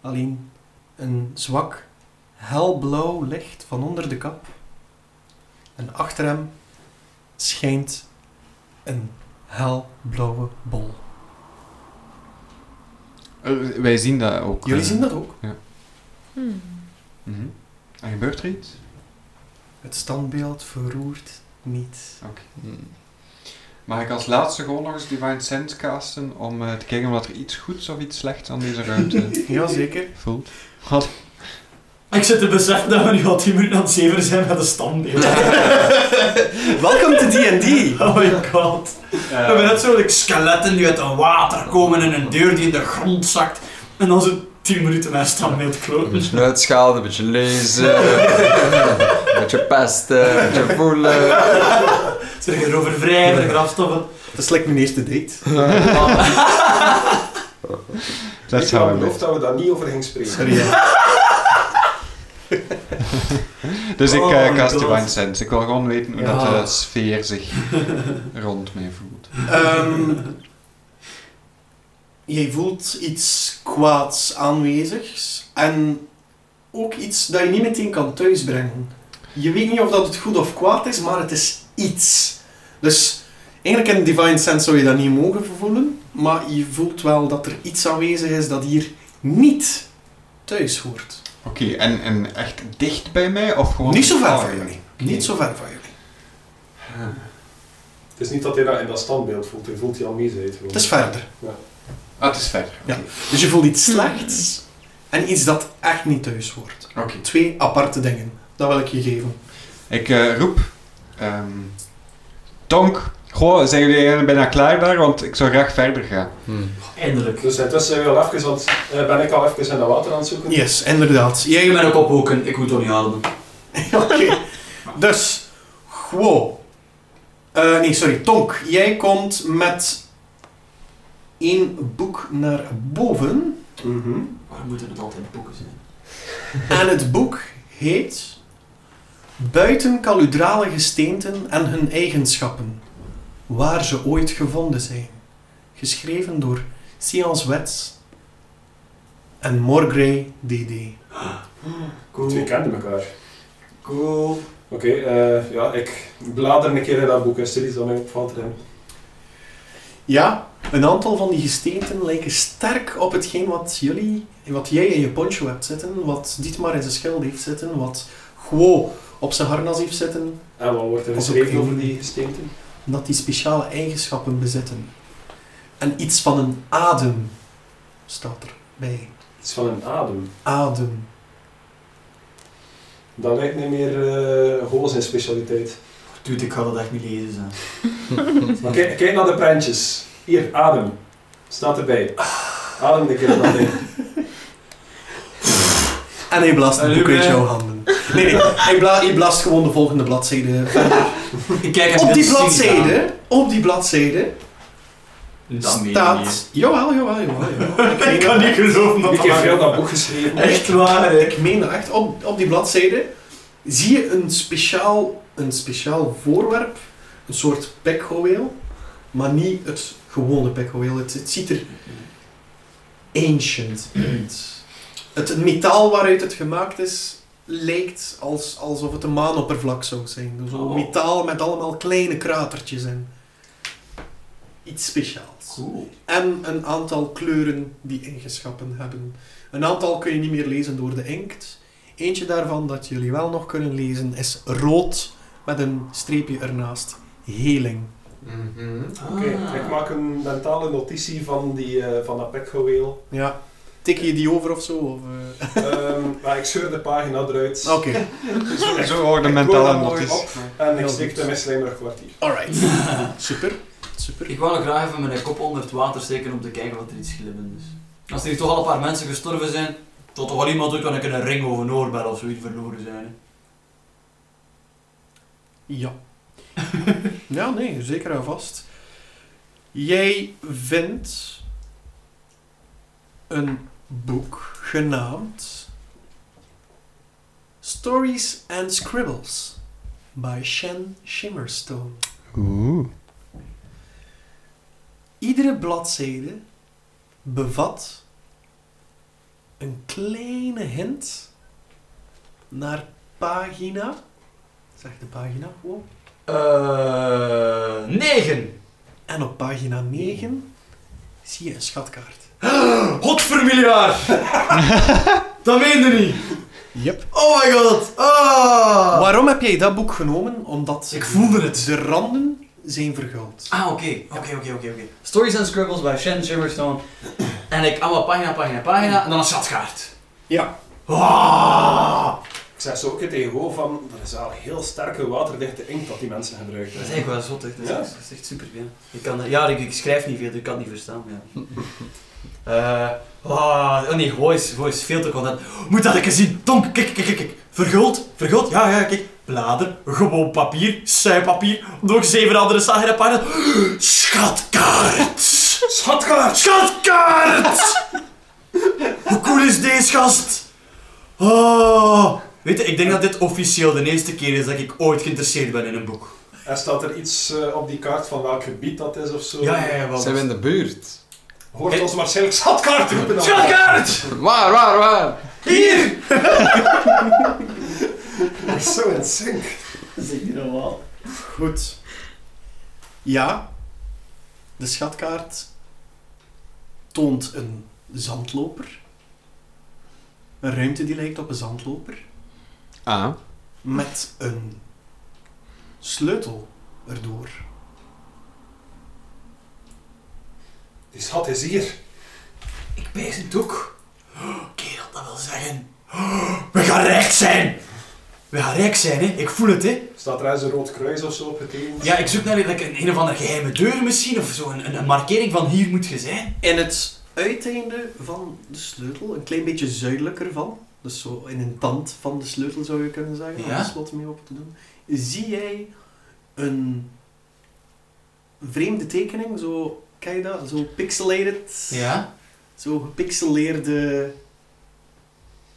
[SPEAKER 1] Alleen een zwak, helblauw licht van onder de kap. En achter hem schijnt een helblauwe bol.
[SPEAKER 4] Eh, wij zien dat ook.
[SPEAKER 1] Jullie
[SPEAKER 4] eh.
[SPEAKER 1] zien dat ook.
[SPEAKER 5] Hmm.
[SPEAKER 4] Mhm. En gebeurt er iets?
[SPEAKER 1] Het standbeeld verroert niet.
[SPEAKER 4] Hmm. Mag ik als laatste gewoon nog eens Divine Sense casten om eh, te kijken of dat er iets goeds of iets slechts aan deze ruimte
[SPEAKER 1] Jazeker.
[SPEAKER 4] voelt?
[SPEAKER 8] Ik zit te beseffen dat we nu al 10 minuten aan het zeven zijn met de standbeeld.
[SPEAKER 1] Welkom to D&D!
[SPEAKER 8] Oh my god. We hebben net zo like, skeletten die uit het water komen en een deur die in de grond zakt. En dan zo 10 minuten naar standbeeld
[SPEAKER 6] Een
[SPEAKER 8] kloten.
[SPEAKER 6] beetje uitschalen, een beetje lezen, een beetje pesten, een beetje voelen.
[SPEAKER 8] Ze gaan erover wrijven, er afstoffen.
[SPEAKER 1] Dat is like mijn eerste date.
[SPEAKER 4] Dat
[SPEAKER 3] Ik had
[SPEAKER 4] zou
[SPEAKER 3] beloofd dat we daar niet over gingen spreken.
[SPEAKER 1] Sorry. hè.
[SPEAKER 4] Dus ik
[SPEAKER 8] Oh
[SPEAKER 4] eh,
[SPEAKER 8] my
[SPEAKER 4] cast
[SPEAKER 8] God.
[SPEAKER 4] Divine Sense. Ik wil gewoon weten hoe dat
[SPEAKER 1] Ja.
[SPEAKER 4] de sfeer zich rond mij voelt.
[SPEAKER 1] Ehm, je voelt iets kwaads aanwezigs en ook iets dat je niet meteen kan thuisbrengen. Je weet niet of dat het goed of kwaad is, maar het is iets. Dus eigenlijk in Divine Sense zou je dat niet mogen voelen, maar je voelt wel dat er iets aanwezig is dat hier niet thuis hoort.
[SPEAKER 4] Oké, en, en echt dicht bij mij of gewoon...
[SPEAKER 1] Niet zo ver
[SPEAKER 4] Oh,
[SPEAKER 1] van
[SPEAKER 4] ja.
[SPEAKER 1] jullie.
[SPEAKER 4] Oké.
[SPEAKER 1] Niet zo ver van jullie.
[SPEAKER 3] Het is niet dat hij dat in dat standbeeld voelt, hij voelt die aanwezigheid gewoon.
[SPEAKER 1] Het is verder.
[SPEAKER 4] Ah, het is verder. Oké.
[SPEAKER 1] Ja. Dus je voelt
[SPEAKER 4] Hmm.
[SPEAKER 1] iets slechts en iets dat echt niet thuis hoort.
[SPEAKER 4] Oké.
[SPEAKER 1] Twee aparte dingen. Dat wil ik je geven.
[SPEAKER 4] Ik eh, roep. ehm, Tonk, goh, zijn jullie eigenlijk bijna klaar daar? Want ik zou graag verder gaan.
[SPEAKER 8] Eindelijk.
[SPEAKER 3] Dus intussen zijn we al even, want, eh, ben ik al even in dat water aan het zoeken.
[SPEAKER 1] Yes, inderdaad. Jij
[SPEAKER 7] Ik ben ook ophoeken, ik moet toch niet ademen.
[SPEAKER 1] Oké. Dus, Guo. Eh, nee, sorry, Tonk. Jij komt met één boek naar boven.
[SPEAKER 3] Mhm.
[SPEAKER 7] Waarom moeten het altijd boeken zijn?
[SPEAKER 1] En het boek heet... Buiten kaludrale gesteenten en hun eigenschappen. Waar ze ooit gevonden zijn. Geschreven door Sians Wets en Morgrey D.D.
[SPEAKER 3] De Twee
[SPEAKER 8] Cool.
[SPEAKER 3] kenden elkaar.
[SPEAKER 8] Cool.
[SPEAKER 3] Oké, eh, ja, ik blader een keer in dat boek en stel iets dat mij opvalt erin.
[SPEAKER 1] Ja, een aantal van die gesteenten lijken sterk op hetgeen wat jullie, wat jij in je poncho hebt zitten, wat Dietmar in zijn schild heeft zitten, wat Guo op zijn harnas heeft zitten,
[SPEAKER 3] En wat wordt er
[SPEAKER 1] Als
[SPEAKER 3] geschreven
[SPEAKER 1] op-
[SPEAKER 3] over die gesteenten?
[SPEAKER 1] dat die speciale eigenschappen bezitten. En iets van een adem staat er bij.
[SPEAKER 3] Iets van een adem.
[SPEAKER 1] Adem.
[SPEAKER 3] Dat lijkt niet meer eh Goh zijn specialiteit.
[SPEAKER 8] Dude, ik ga dat echt niet lezen. Zijn.
[SPEAKER 3] Maar kijk, kijk naar de prentjes. Hier, adem. Staat erbij. Adem een keer in dat ding.
[SPEAKER 1] En hij blaast het
[SPEAKER 7] En
[SPEAKER 1] boek
[SPEAKER 7] nu,
[SPEAKER 1] uit
[SPEAKER 7] eh,
[SPEAKER 1] jouw handen. Nee, nee, hij, bla- hij blaast gewoon de volgende bladzijde verder.
[SPEAKER 7] Ik kijk
[SPEAKER 1] Op
[SPEAKER 7] even
[SPEAKER 1] die
[SPEAKER 7] cynisch aan.
[SPEAKER 1] bladzijde, op die bladzijde,
[SPEAKER 7] Dat meen je niet.
[SPEAKER 1] staat... Jawel, jawel, jawel. jawel. Ik
[SPEAKER 8] Ik
[SPEAKER 1] weet
[SPEAKER 8] kan
[SPEAKER 1] dat.
[SPEAKER 8] niet geloven dat
[SPEAKER 3] Ik heb
[SPEAKER 8] dat-
[SPEAKER 3] veel dat boek geschreven.
[SPEAKER 8] Echt waar, hè.
[SPEAKER 1] Ik meen dat echt. Op, op die bladzijde zie je een speciaal, een speciaal voorwerp, een soort pekhoeel, maar niet het gewone pekhoeel. Het, het ziet er ancient uit. Het metaal waaruit het gemaakt is, lijkt als, alsof het een maanoppervlak zou zijn. Dus Zo'n
[SPEAKER 7] Oh.
[SPEAKER 1] metaal met allemaal kleine kratertjes in. Iets speciaals.
[SPEAKER 7] Cool.
[SPEAKER 1] En een aantal kleuren die ingeschappen hebben. Een aantal kun je niet meer lezen door de inkt. Eentje daarvan dat jullie wel nog kunnen lezen is rood met een streepje ernaast. Heling.
[SPEAKER 6] Mhm.
[SPEAKER 3] Oké,
[SPEAKER 8] Ah.
[SPEAKER 3] ik maak een mentale notitie van, die, eh, van dat pekgeweel.
[SPEAKER 1] Ja. Tik je die over of zo? Of, eh?
[SPEAKER 3] Ehm, maar ik scheur de pagina eruit
[SPEAKER 1] Oké,
[SPEAKER 4] Zo, zo hoor de
[SPEAKER 3] Ik
[SPEAKER 4] mentale
[SPEAKER 3] hoor dat mooi
[SPEAKER 4] notities.
[SPEAKER 3] en ik
[SPEAKER 1] heel
[SPEAKER 3] steek
[SPEAKER 1] goed.
[SPEAKER 3] de mislijmer kwartier.
[SPEAKER 1] alright. Super. Super.
[SPEAKER 7] Ik wou nog graag even mijn kop onder het water steken om te kijken wat er iets glimmend is. Als er hier toch al een paar mensen gestorven zijn, tot toch al iemand doet, kan ik een ring of een oorbel of zoiets verloren zijn. hè.
[SPEAKER 1] Ja. ja, nee, zeker en vast. Jij vindt een boek genaamd Stories and Scribbles by Shen Shimmerstone.
[SPEAKER 4] Oeh.
[SPEAKER 1] Iedere bladzijde bevat een kleine hint naar pagina. Zeg de pagina gewoon.
[SPEAKER 8] Eh, negen.
[SPEAKER 1] En op pagina 9 zie je een schatkaart.
[SPEAKER 8] Godvermiljaar! dat meende niet.
[SPEAKER 1] Yep.
[SPEAKER 8] Oh my god. Ah.
[SPEAKER 1] Waarom heb jij dat boek genomen? Omdat
[SPEAKER 8] Ik voelde het.
[SPEAKER 1] de randen zijn verguld.
[SPEAKER 8] Ah, oké, oké, oké, oké, oké. Stories and Scribbles bij Shen Shimmerstone. En ik allemaal pagina, pagina, pagina. En dan een schatkaart.
[SPEAKER 1] Ja.
[SPEAKER 8] Ah,
[SPEAKER 3] Ik zei zo ook tegen Ho van, dat is wel heel sterke waterdichte inkt dat die mensen gebruiken.
[SPEAKER 8] dat is eigenlijk wel zot, echt. Dat is,
[SPEAKER 3] Ja.
[SPEAKER 8] dat is echt super, ja. Ik kan, ja, ik, ik schrijf niet veel, dus ik kan het niet verstaan, ja. Eh, ah, oh nee, voice, voice, veel te content. Moet dat ik eens zien. Tonk, kijk, kijk, kijk, kijk. Verguld, verguld, ja, ja, kijk. Blader, gewoon papier, seipapier, nog zeven andere sagere pagina's. Schatkaart!
[SPEAKER 3] Schatkaart!
[SPEAKER 8] Schatkaart! Hoe cool is deze gast? Oh. Weet je, ik denk dat dit officieel de eerste keer is dat ik ooit geïnteresseerd ben in een boek.
[SPEAKER 3] En staat er iets eh, op die kaart van welk gebied dat is of zo?
[SPEAKER 8] Ja, ja, ja,
[SPEAKER 6] Zijn we in de buurt?
[SPEAKER 3] Hoort
[SPEAKER 8] Hey.
[SPEAKER 3] ons waarschijnlijk schatkaart roepen dan.
[SPEAKER 8] Schatkaart!
[SPEAKER 6] Waar, waar, waar?
[SPEAKER 8] Hier!
[SPEAKER 3] Dat is Zo in sync.
[SPEAKER 8] Dat is niet normaal.
[SPEAKER 1] Goed. Ja, de schatkaart toont een zandloper. Een ruimte die lijkt op een zandloper.
[SPEAKER 4] Ah.
[SPEAKER 1] Met een sleutel erdoor.
[SPEAKER 3] Die schat is hier.
[SPEAKER 8] Ik pees een doek. Kerel, dat wil zeggen. We gaan rijk zijn! We gaan rijk zijn, hè? Ik voel het, hè?
[SPEAKER 3] Staat er eens een rood kruis of zo op getekend?
[SPEAKER 8] Ja, ik zoek naar like, een, een of andere geheime deur misschien, of zo. Een, een, een markering van hier moet je zijn.
[SPEAKER 1] In het uiteinde van de sleutel, een klein beetje zuidelijker van, dus zo in een tand van de sleutel zou je kunnen zeggen, om
[SPEAKER 8] Ja.
[SPEAKER 1] de slot mee open te doen, zie jij een vreemde tekening, zo, ken je dat? Zo pixelated,
[SPEAKER 8] Ja?
[SPEAKER 1] zo gepixeleerde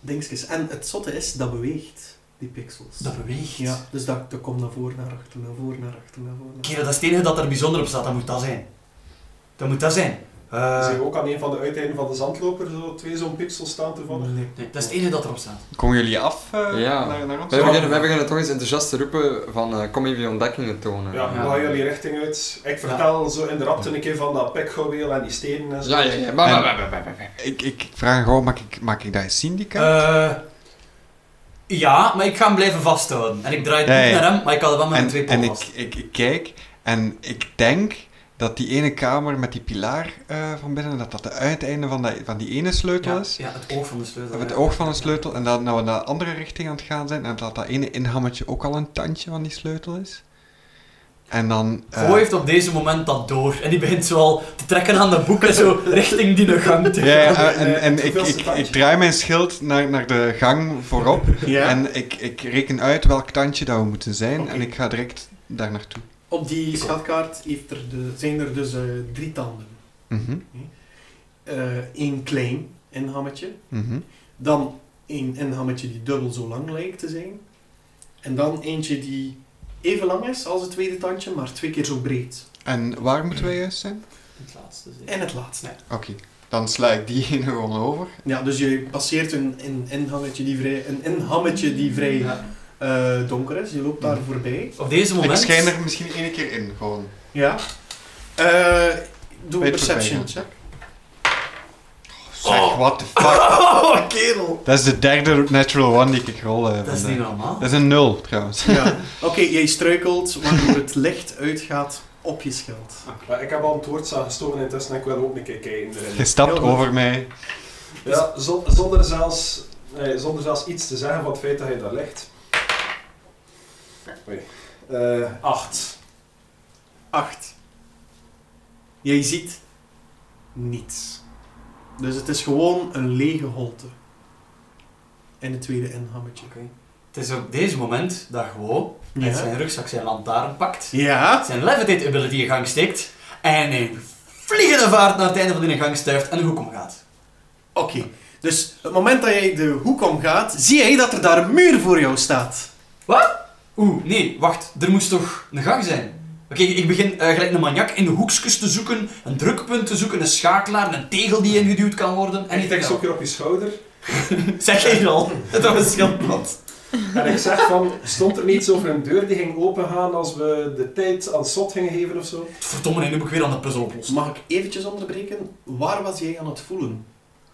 [SPEAKER 1] dingetjes. En het zotte is, dat beweegt, die pixels.
[SPEAKER 8] Dat beweegt.
[SPEAKER 1] ja, dus dat, dat komt naar voren, naar achter, naar voren, naar achter, naar voren. naar
[SPEAKER 8] Kerel, dat is het enige dat er bijzonder op staat. Dat moet dat zijn. Dat moet dat zijn. Eh,
[SPEAKER 3] Zien we ook aan een van de uiteinden van de zandloper zo twee zo'n pixels staan toevallig?
[SPEAKER 1] Nee.
[SPEAKER 8] nee, dat is het enige dat erop staat.
[SPEAKER 4] Komen jullie af eh,
[SPEAKER 6] Ja.
[SPEAKER 4] naar, naar ons?
[SPEAKER 6] Wij beginnen, wij beginnen toch eens enthousiast te roepen van eh, kom even je ontdekkingen tonen.
[SPEAKER 3] Ja,
[SPEAKER 8] Ja.
[SPEAKER 3] we gaan jullie richting uit. Ik vertel zo in de rapte een keer van dat pikgouweel en die stenen en zo.
[SPEAKER 6] Ja, ja, ja. Maar, maar, maar, maar, maar, maar.
[SPEAKER 4] Ik, ik, ik vraag gewoon, maak ik, maak ik dat eens zien, die kaart?
[SPEAKER 8] Eh, ja, maar ik ga hem blijven vasthouden. En ik draai het
[SPEAKER 4] Ja,
[SPEAKER 8] niet
[SPEAKER 4] ja.
[SPEAKER 8] naar hem, maar ik had het wel met mijn
[SPEAKER 4] en
[SPEAKER 8] twee
[SPEAKER 4] en
[SPEAKER 8] poten
[SPEAKER 4] ik,
[SPEAKER 8] vast.
[SPEAKER 4] ik, ik kijk en ik denk dat die ene kamer met die pilaar eh, van binnen, dat dat de uiteinde van, dat, van die ene sleutel
[SPEAKER 8] Ja,
[SPEAKER 4] is.
[SPEAKER 8] ja, het oog van de sleutel.
[SPEAKER 4] Of het
[SPEAKER 8] ja.
[SPEAKER 4] oog van een sleutel. En dat nou we naar de andere richting aan het gaan zijn. En dat dat ene inhammetje ook al een tandje van die sleutel is. En dan... eh,
[SPEAKER 8] Go heeft op deze moment dat door. En die begint zo al te trekken aan de boeken, zo richting die gang te
[SPEAKER 4] ja,
[SPEAKER 8] gaan.
[SPEAKER 4] ja, en,
[SPEAKER 3] eh,
[SPEAKER 4] en ik,
[SPEAKER 3] hoeveelste
[SPEAKER 4] ik, ik
[SPEAKER 3] tandje?
[SPEAKER 4] draai mijn schild naar, naar de gang voorop.
[SPEAKER 1] voren. Ja.
[SPEAKER 4] En ik, ik reken uit welk tandje dat we moeten zijn.
[SPEAKER 1] Oké.
[SPEAKER 4] En ik ga direct daar naartoe.
[SPEAKER 1] Op die schatkaart heeft er de, zijn er dus eh, drie tanden.
[SPEAKER 4] Mhm,
[SPEAKER 1] Eén klein inhammetje,
[SPEAKER 4] mhm.
[SPEAKER 1] dan één inhammetje die dubbel zo lang lijkt te zijn, en dan eentje die even lang is als het tweede tandje, maar twee keer zo breed.
[SPEAKER 4] En waar moeten wij juist zijn?
[SPEAKER 8] Het laatste zeker.
[SPEAKER 1] En het laatste.
[SPEAKER 4] Oké, dan sla ik die ene gewoon over.
[SPEAKER 1] Ja, dus je passeert een, een, inhammetje, die vrij, een inhammetje die vrij
[SPEAKER 8] Ja.
[SPEAKER 1] eh, donker is, je loopt daar voorbij.
[SPEAKER 8] Op deze moment...
[SPEAKER 4] Ik schijn er misschien één keer in, gewoon.
[SPEAKER 1] Ja. Eh, doe een
[SPEAKER 4] Weet
[SPEAKER 1] perception
[SPEAKER 4] voorbij gaan.
[SPEAKER 1] check.
[SPEAKER 4] Zeg, what the fuck.
[SPEAKER 1] Oh, kerel!
[SPEAKER 4] Dat is de derde natural one die ik rol heb.
[SPEAKER 8] Dat is niet normaal.
[SPEAKER 4] Dat is een nul, trouwens.
[SPEAKER 1] Ja. Oké, jij struikelt, waardoor het licht uitgaat op je schild.
[SPEAKER 3] Maar ik heb al een toortsa gestoken intussen en ik wil ook een keer kijken erin.
[SPEAKER 4] Je stapt
[SPEAKER 1] Heel goed.
[SPEAKER 4] over mij.
[SPEAKER 3] Ja, zon- zonder, zelfs, nee, zonder zelfs iets te zeggen van het feit dat je daar ligt. Oei. Eh, acht.
[SPEAKER 1] 8. Jij ziet niets. Dus het is gewoon een lege holte. En het tweede inhammetje.
[SPEAKER 8] Het is op deze moment dat gewoon uit zijn rugzak zijn lantaarn pakt,
[SPEAKER 1] Ja.
[SPEAKER 8] zijn levitate ability in gang steekt en in vliegende vaart naar het einde van die gang stuift en de hoek omgaat.
[SPEAKER 1] Oké. Dus het moment dat jij de hoek omgaat, zie jij dat er daar een muur voor jou staat.
[SPEAKER 8] Oeh, nee, wacht. Er moest toch een gang zijn? We ik begin eh, gelijk een maniak in de hoekjes te zoeken, een drukpunt te zoeken, een schakelaar, een tegel die ingeduwd kan worden. En
[SPEAKER 3] En ik tik zo keer op je schouder.
[SPEAKER 8] Zeg je al, dat was schildpad.
[SPEAKER 3] En ik zeg van, stond er niets over een deur die ging opengaan als we de tijd aan slot gingen geven of zo?
[SPEAKER 8] Verdomme, en nu moet ik weer aan de puzzel oplossen.
[SPEAKER 1] Mag ik eventjes onderbreken? Waar was jij aan het voelen?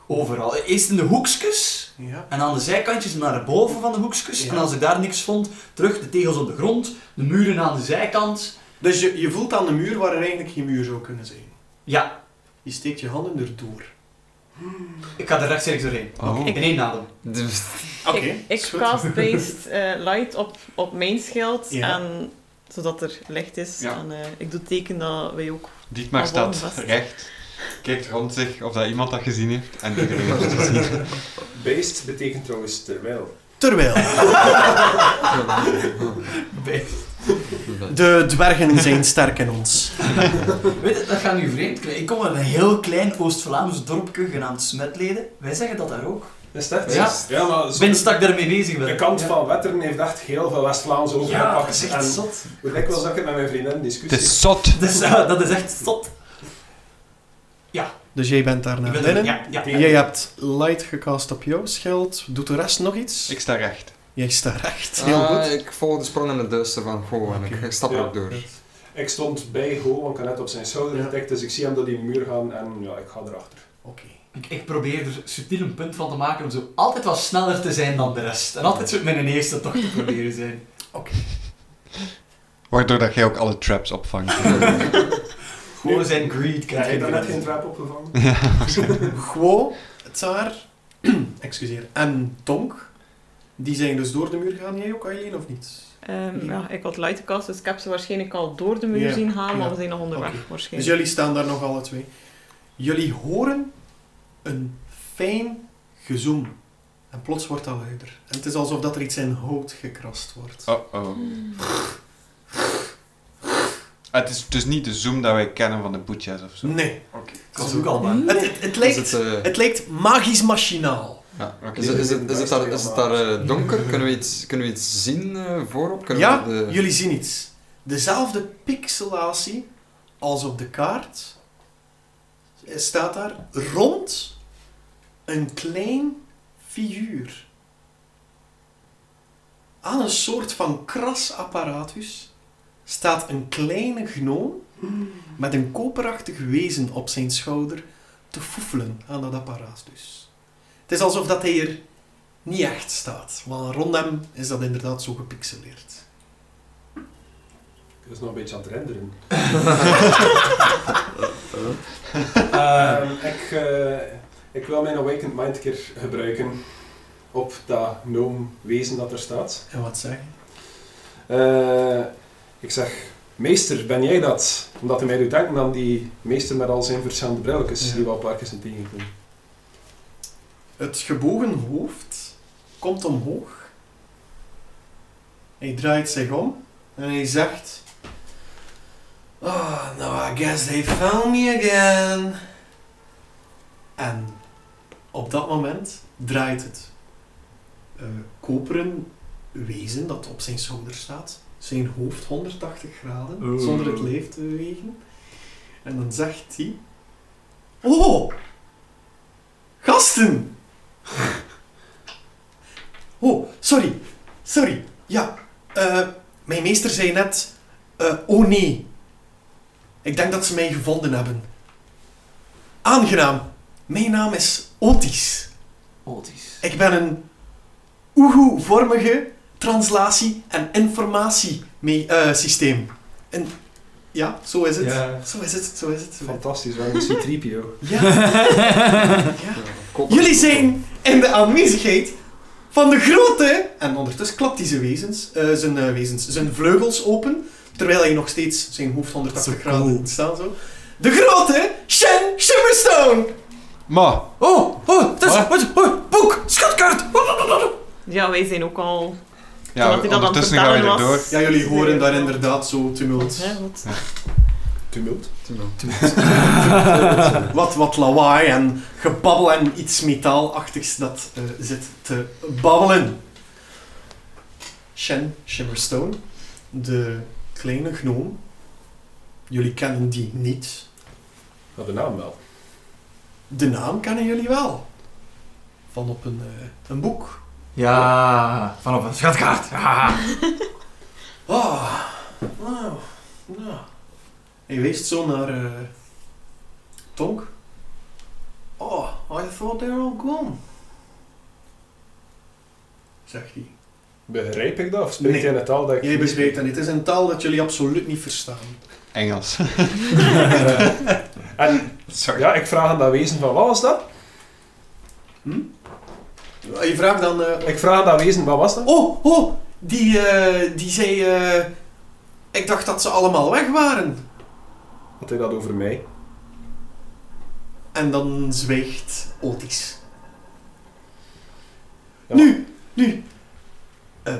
[SPEAKER 8] Overal. Eerst in de hoekjes
[SPEAKER 1] Ja.
[SPEAKER 8] en aan de zijkantjes naar boven van de hoekjes.
[SPEAKER 1] Ja.
[SPEAKER 8] En als ik daar niks vond, terug de tegels op de grond, de muren aan de zijkant.
[SPEAKER 1] Dus je, je voelt aan de muur waar er eigenlijk geen muur zou kunnen zijn.
[SPEAKER 8] Ja,
[SPEAKER 1] Je steekt je handen erdoor.
[SPEAKER 8] ik ga er rechtstreeks doorheen.
[SPEAKER 4] Oh.
[SPEAKER 8] In één adem.
[SPEAKER 1] Oké,
[SPEAKER 5] Ik, ik
[SPEAKER 1] is goed.
[SPEAKER 5] cast-based eh, light op, op mijn schild,
[SPEAKER 1] Ja.
[SPEAKER 5] en, zodat er licht is.
[SPEAKER 4] Ja.
[SPEAKER 5] En, eh, ik doe teken dat wij ook...
[SPEAKER 4] Dietmar
[SPEAKER 5] Oh,
[SPEAKER 4] staat
[SPEAKER 5] waarom was-
[SPEAKER 4] recht, kijkt rond zich of dat iemand dat gezien heeft. En iedereen heeft het gezien.
[SPEAKER 3] Beest betekent trouwens terwijl.
[SPEAKER 1] Terwijl
[SPEAKER 6] Oké.
[SPEAKER 1] de dwergen zijn sterk in ons.
[SPEAKER 8] Weet je, dat gaat nu vreemd klinken. Ik kom uit een heel klein Oost-Vlaams dorpje genaamd Smetleden. Wij zeggen dat daar ook.
[SPEAKER 3] Is dat?
[SPEAKER 8] Ja.
[SPEAKER 3] ja maar
[SPEAKER 8] Ik
[SPEAKER 3] zo,
[SPEAKER 8] ben stak daarmee bezig ben.
[SPEAKER 3] de kant
[SPEAKER 8] Ja.
[SPEAKER 3] van Wetteren heeft echt heel veel West-Vlaams
[SPEAKER 8] Ja, dat
[SPEAKER 3] overgepakt.
[SPEAKER 8] is echt
[SPEAKER 3] en
[SPEAKER 8] zot.
[SPEAKER 3] hoe dik was dat ik het met mijn vriendin in
[SPEAKER 4] Het
[SPEAKER 3] discussie?
[SPEAKER 4] is zot.
[SPEAKER 8] Dat is, eh, dat is echt zot.
[SPEAKER 1] Dus jij bent daar naar
[SPEAKER 8] Ik ben
[SPEAKER 1] binnen.
[SPEAKER 8] er- ja, ja.
[SPEAKER 1] Jij hebt light gecast op jouw schild. Doet de rest nog iets?
[SPEAKER 4] Ik sta recht.
[SPEAKER 1] Jij staat recht, heel
[SPEAKER 6] Ah,
[SPEAKER 1] goed.
[SPEAKER 6] ik volg de sprong in het duister van Goh en
[SPEAKER 1] Oké.
[SPEAKER 6] ik stap er ook door.
[SPEAKER 3] Ik stond bij Ho, want ik had net op zijn schouder
[SPEAKER 1] Ja.
[SPEAKER 3] getikt, dus ik zie hem door die muur gaan en ja, ik ga erachter.
[SPEAKER 1] Oké.
[SPEAKER 8] Ik, ik probeer er subtiel een punt van te maken om zo altijd wat sneller te zijn dan de rest. En altijd zo mijn eerste toch te proberen zijn.
[SPEAKER 4] Waardoor dat jij ook alle traps opvangt.
[SPEAKER 8] Gewoon zijn greed
[SPEAKER 3] Ja,
[SPEAKER 8] kent
[SPEAKER 3] heb je daar net geen
[SPEAKER 8] geen
[SPEAKER 3] trap opgevangen?
[SPEAKER 1] Guo, Tsar, excuseer, en Tonk, die zijn dus door de muur gegaan. Jij ook, Aileen, of niet?
[SPEAKER 5] Ehm, ja, ik had light gecast, dus ik heb ze waarschijnlijk al door de muur
[SPEAKER 1] Ja,
[SPEAKER 5] zien gaan, maar
[SPEAKER 1] ja.
[SPEAKER 5] we zijn nog onderweg
[SPEAKER 1] Oké. Dus
[SPEAKER 5] waarschijnlijk.
[SPEAKER 1] jullie staan daar nog alle twee. Jullie horen een fijn gezoem. En plots wordt dat luider. En het is alsof dat er iets in hout gekrast wordt.
[SPEAKER 4] Oh oh. Ah, het is dus niet de zoom dat wij kennen van de boetjes of zo.
[SPEAKER 1] Nee.
[SPEAKER 8] Ik was ook al bang.
[SPEAKER 1] Het, het, het,
[SPEAKER 6] Is
[SPEAKER 1] lijkt,
[SPEAKER 6] het, eh,
[SPEAKER 1] het lijkt magisch machinaal.
[SPEAKER 6] ja.
[SPEAKER 4] Oké.
[SPEAKER 6] Is het- is het- is het daar- is het daar eh, donker? Kunnen we iets, kunnen we iets zien eh, voorop? Kunnen
[SPEAKER 1] ja,
[SPEAKER 6] we de...
[SPEAKER 1] jullie zien iets. Dezelfde pixelatie als op de kaart Eh, staat daar rond een klein figuur. Aan een soort van krasapparatus staat een kleine gnoom met een koperachtig wezen op zijn schouder te foefelen aan dat apparaat dus. Het is alsof dat hij er niet echt staat, want rond hem is dat inderdaad zo gepixeleerd.
[SPEAKER 3] Ik was nog een beetje aan het renderen.
[SPEAKER 8] Eh,
[SPEAKER 3] Ehm, ik, eh, ik wil mijn Awakened Mind een keer gebruiken op dat gnome wezen dat er staat.
[SPEAKER 1] En wat zeg je?
[SPEAKER 3] Eh, ik zeg, meester, ben jij dat? Omdat hij mij doet denken aan die meester met al zijn verschillende brilletjes
[SPEAKER 1] Ja.
[SPEAKER 3] die we al een paar keer zijn tegengekomen.
[SPEAKER 1] Het gebogen hoofd komt omhoog. Hij draait zich om en hij zegt: Oh, now I guess they found me again. En op dat moment draait het eh, koperen wezen dat op zijn schouder staat, zijn hoofd 180 graden,
[SPEAKER 8] Oeh.
[SPEAKER 1] zonder het leef te bewegen. En dan zegt hij: Oh, gasten! Oh, sorry. Sorry. Ja, eh, mijn meester zei net... eh, oh nee. Ik denk dat ze mij gevonden hebben. Aangenaam. Mijn naam is Otis.
[SPEAKER 7] Oh,
[SPEAKER 8] Otis.
[SPEAKER 1] Ik ben een Oehoe-vormige translatie- en informatiesysteem. En ja, zo is het.
[SPEAKER 8] Ja.
[SPEAKER 1] Zo is het, zo is het. Zo is het.
[SPEAKER 3] Fantastisch, we hebben een C-3PO.
[SPEAKER 1] Ja. ja.
[SPEAKER 6] Koper-
[SPEAKER 1] Jullie zijn in de aanwezigheid van de grote... En ondertussen klapt hij zijn, wezens, eh, zijn, eh, wezens, zijn vleugels open, terwijl hij nog steeds zijn hoofd 180 graden staat. Zo. De grote Shen Shimmerstone!
[SPEAKER 4] Maar,
[SPEAKER 8] Oh, oh, dat is...
[SPEAKER 4] Wat?
[SPEAKER 8] Wat? Oh, boek, schatkaart.
[SPEAKER 5] Ja, wij zijn ook al...
[SPEAKER 4] ja,
[SPEAKER 5] Omdat hij dat aan het
[SPEAKER 4] ondertussen gaan we
[SPEAKER 5] vertellen
[SPEAKER 4] erdoor.
[SPEAKER 5] was.
[SPEAKER 1] Ja, jullie horen daar inderdaad zo tumult.
[SPEAKER 5] Ja, goed.
[SPEAKER 3] Tumult.
[SPEAKER 1] Wat, wat lawaai en gebabbel en iets metaalachtigs dat eh, zit te babbelen. Shen Shimmerstone, de kleine gnoom, Jullie kennen die niet.
[SPEAKER 3] Maar de naam wel.
[SPEAKER 1] De naam kennen jullie wel. Van op een, eh, een boek.
[SPEAKER 7] Ja, vanaf een schatkaart. Haha.
[SPEAKER 1] Ah, nou, nou. Hij wijst zo naar eh, Tonk. Oh, I thought they were all gone. Zegt hij.
[SPEAKER 3] Begrijp ik dat? Of spreek
[SPEAKER 1] Nee.
[SPEAKER 3] jij een taal dat ik
[SPEAKER 1] Jij bespreekt dat niet. Het is een taal dat jullie absoluut niet verstaan.
[SPEAKER 4] Engels.
[SPEAKER 3] Eh, en
[SPEAKER 4] Sorry.
[SPEAKER 3] ja, ik vraag aan dat wezen van wat was dat?
[SPEAKER 1] Je vraagt dan... eh,
[SPEAKER 3] Ik vraag aan dat wezen wat was dat?
[SPEAKER 1] oh, oh, die, eh, die zei... eh, ik dacht dat ze allemaal weg waren.
[SPEAKER 3] Had hij dat over mij?
[SPEAKER 1] En dan zwijgt Otis.
[SPEAKER 3] Ja.
[SPEAKER 1] Nu, nu. Ehm,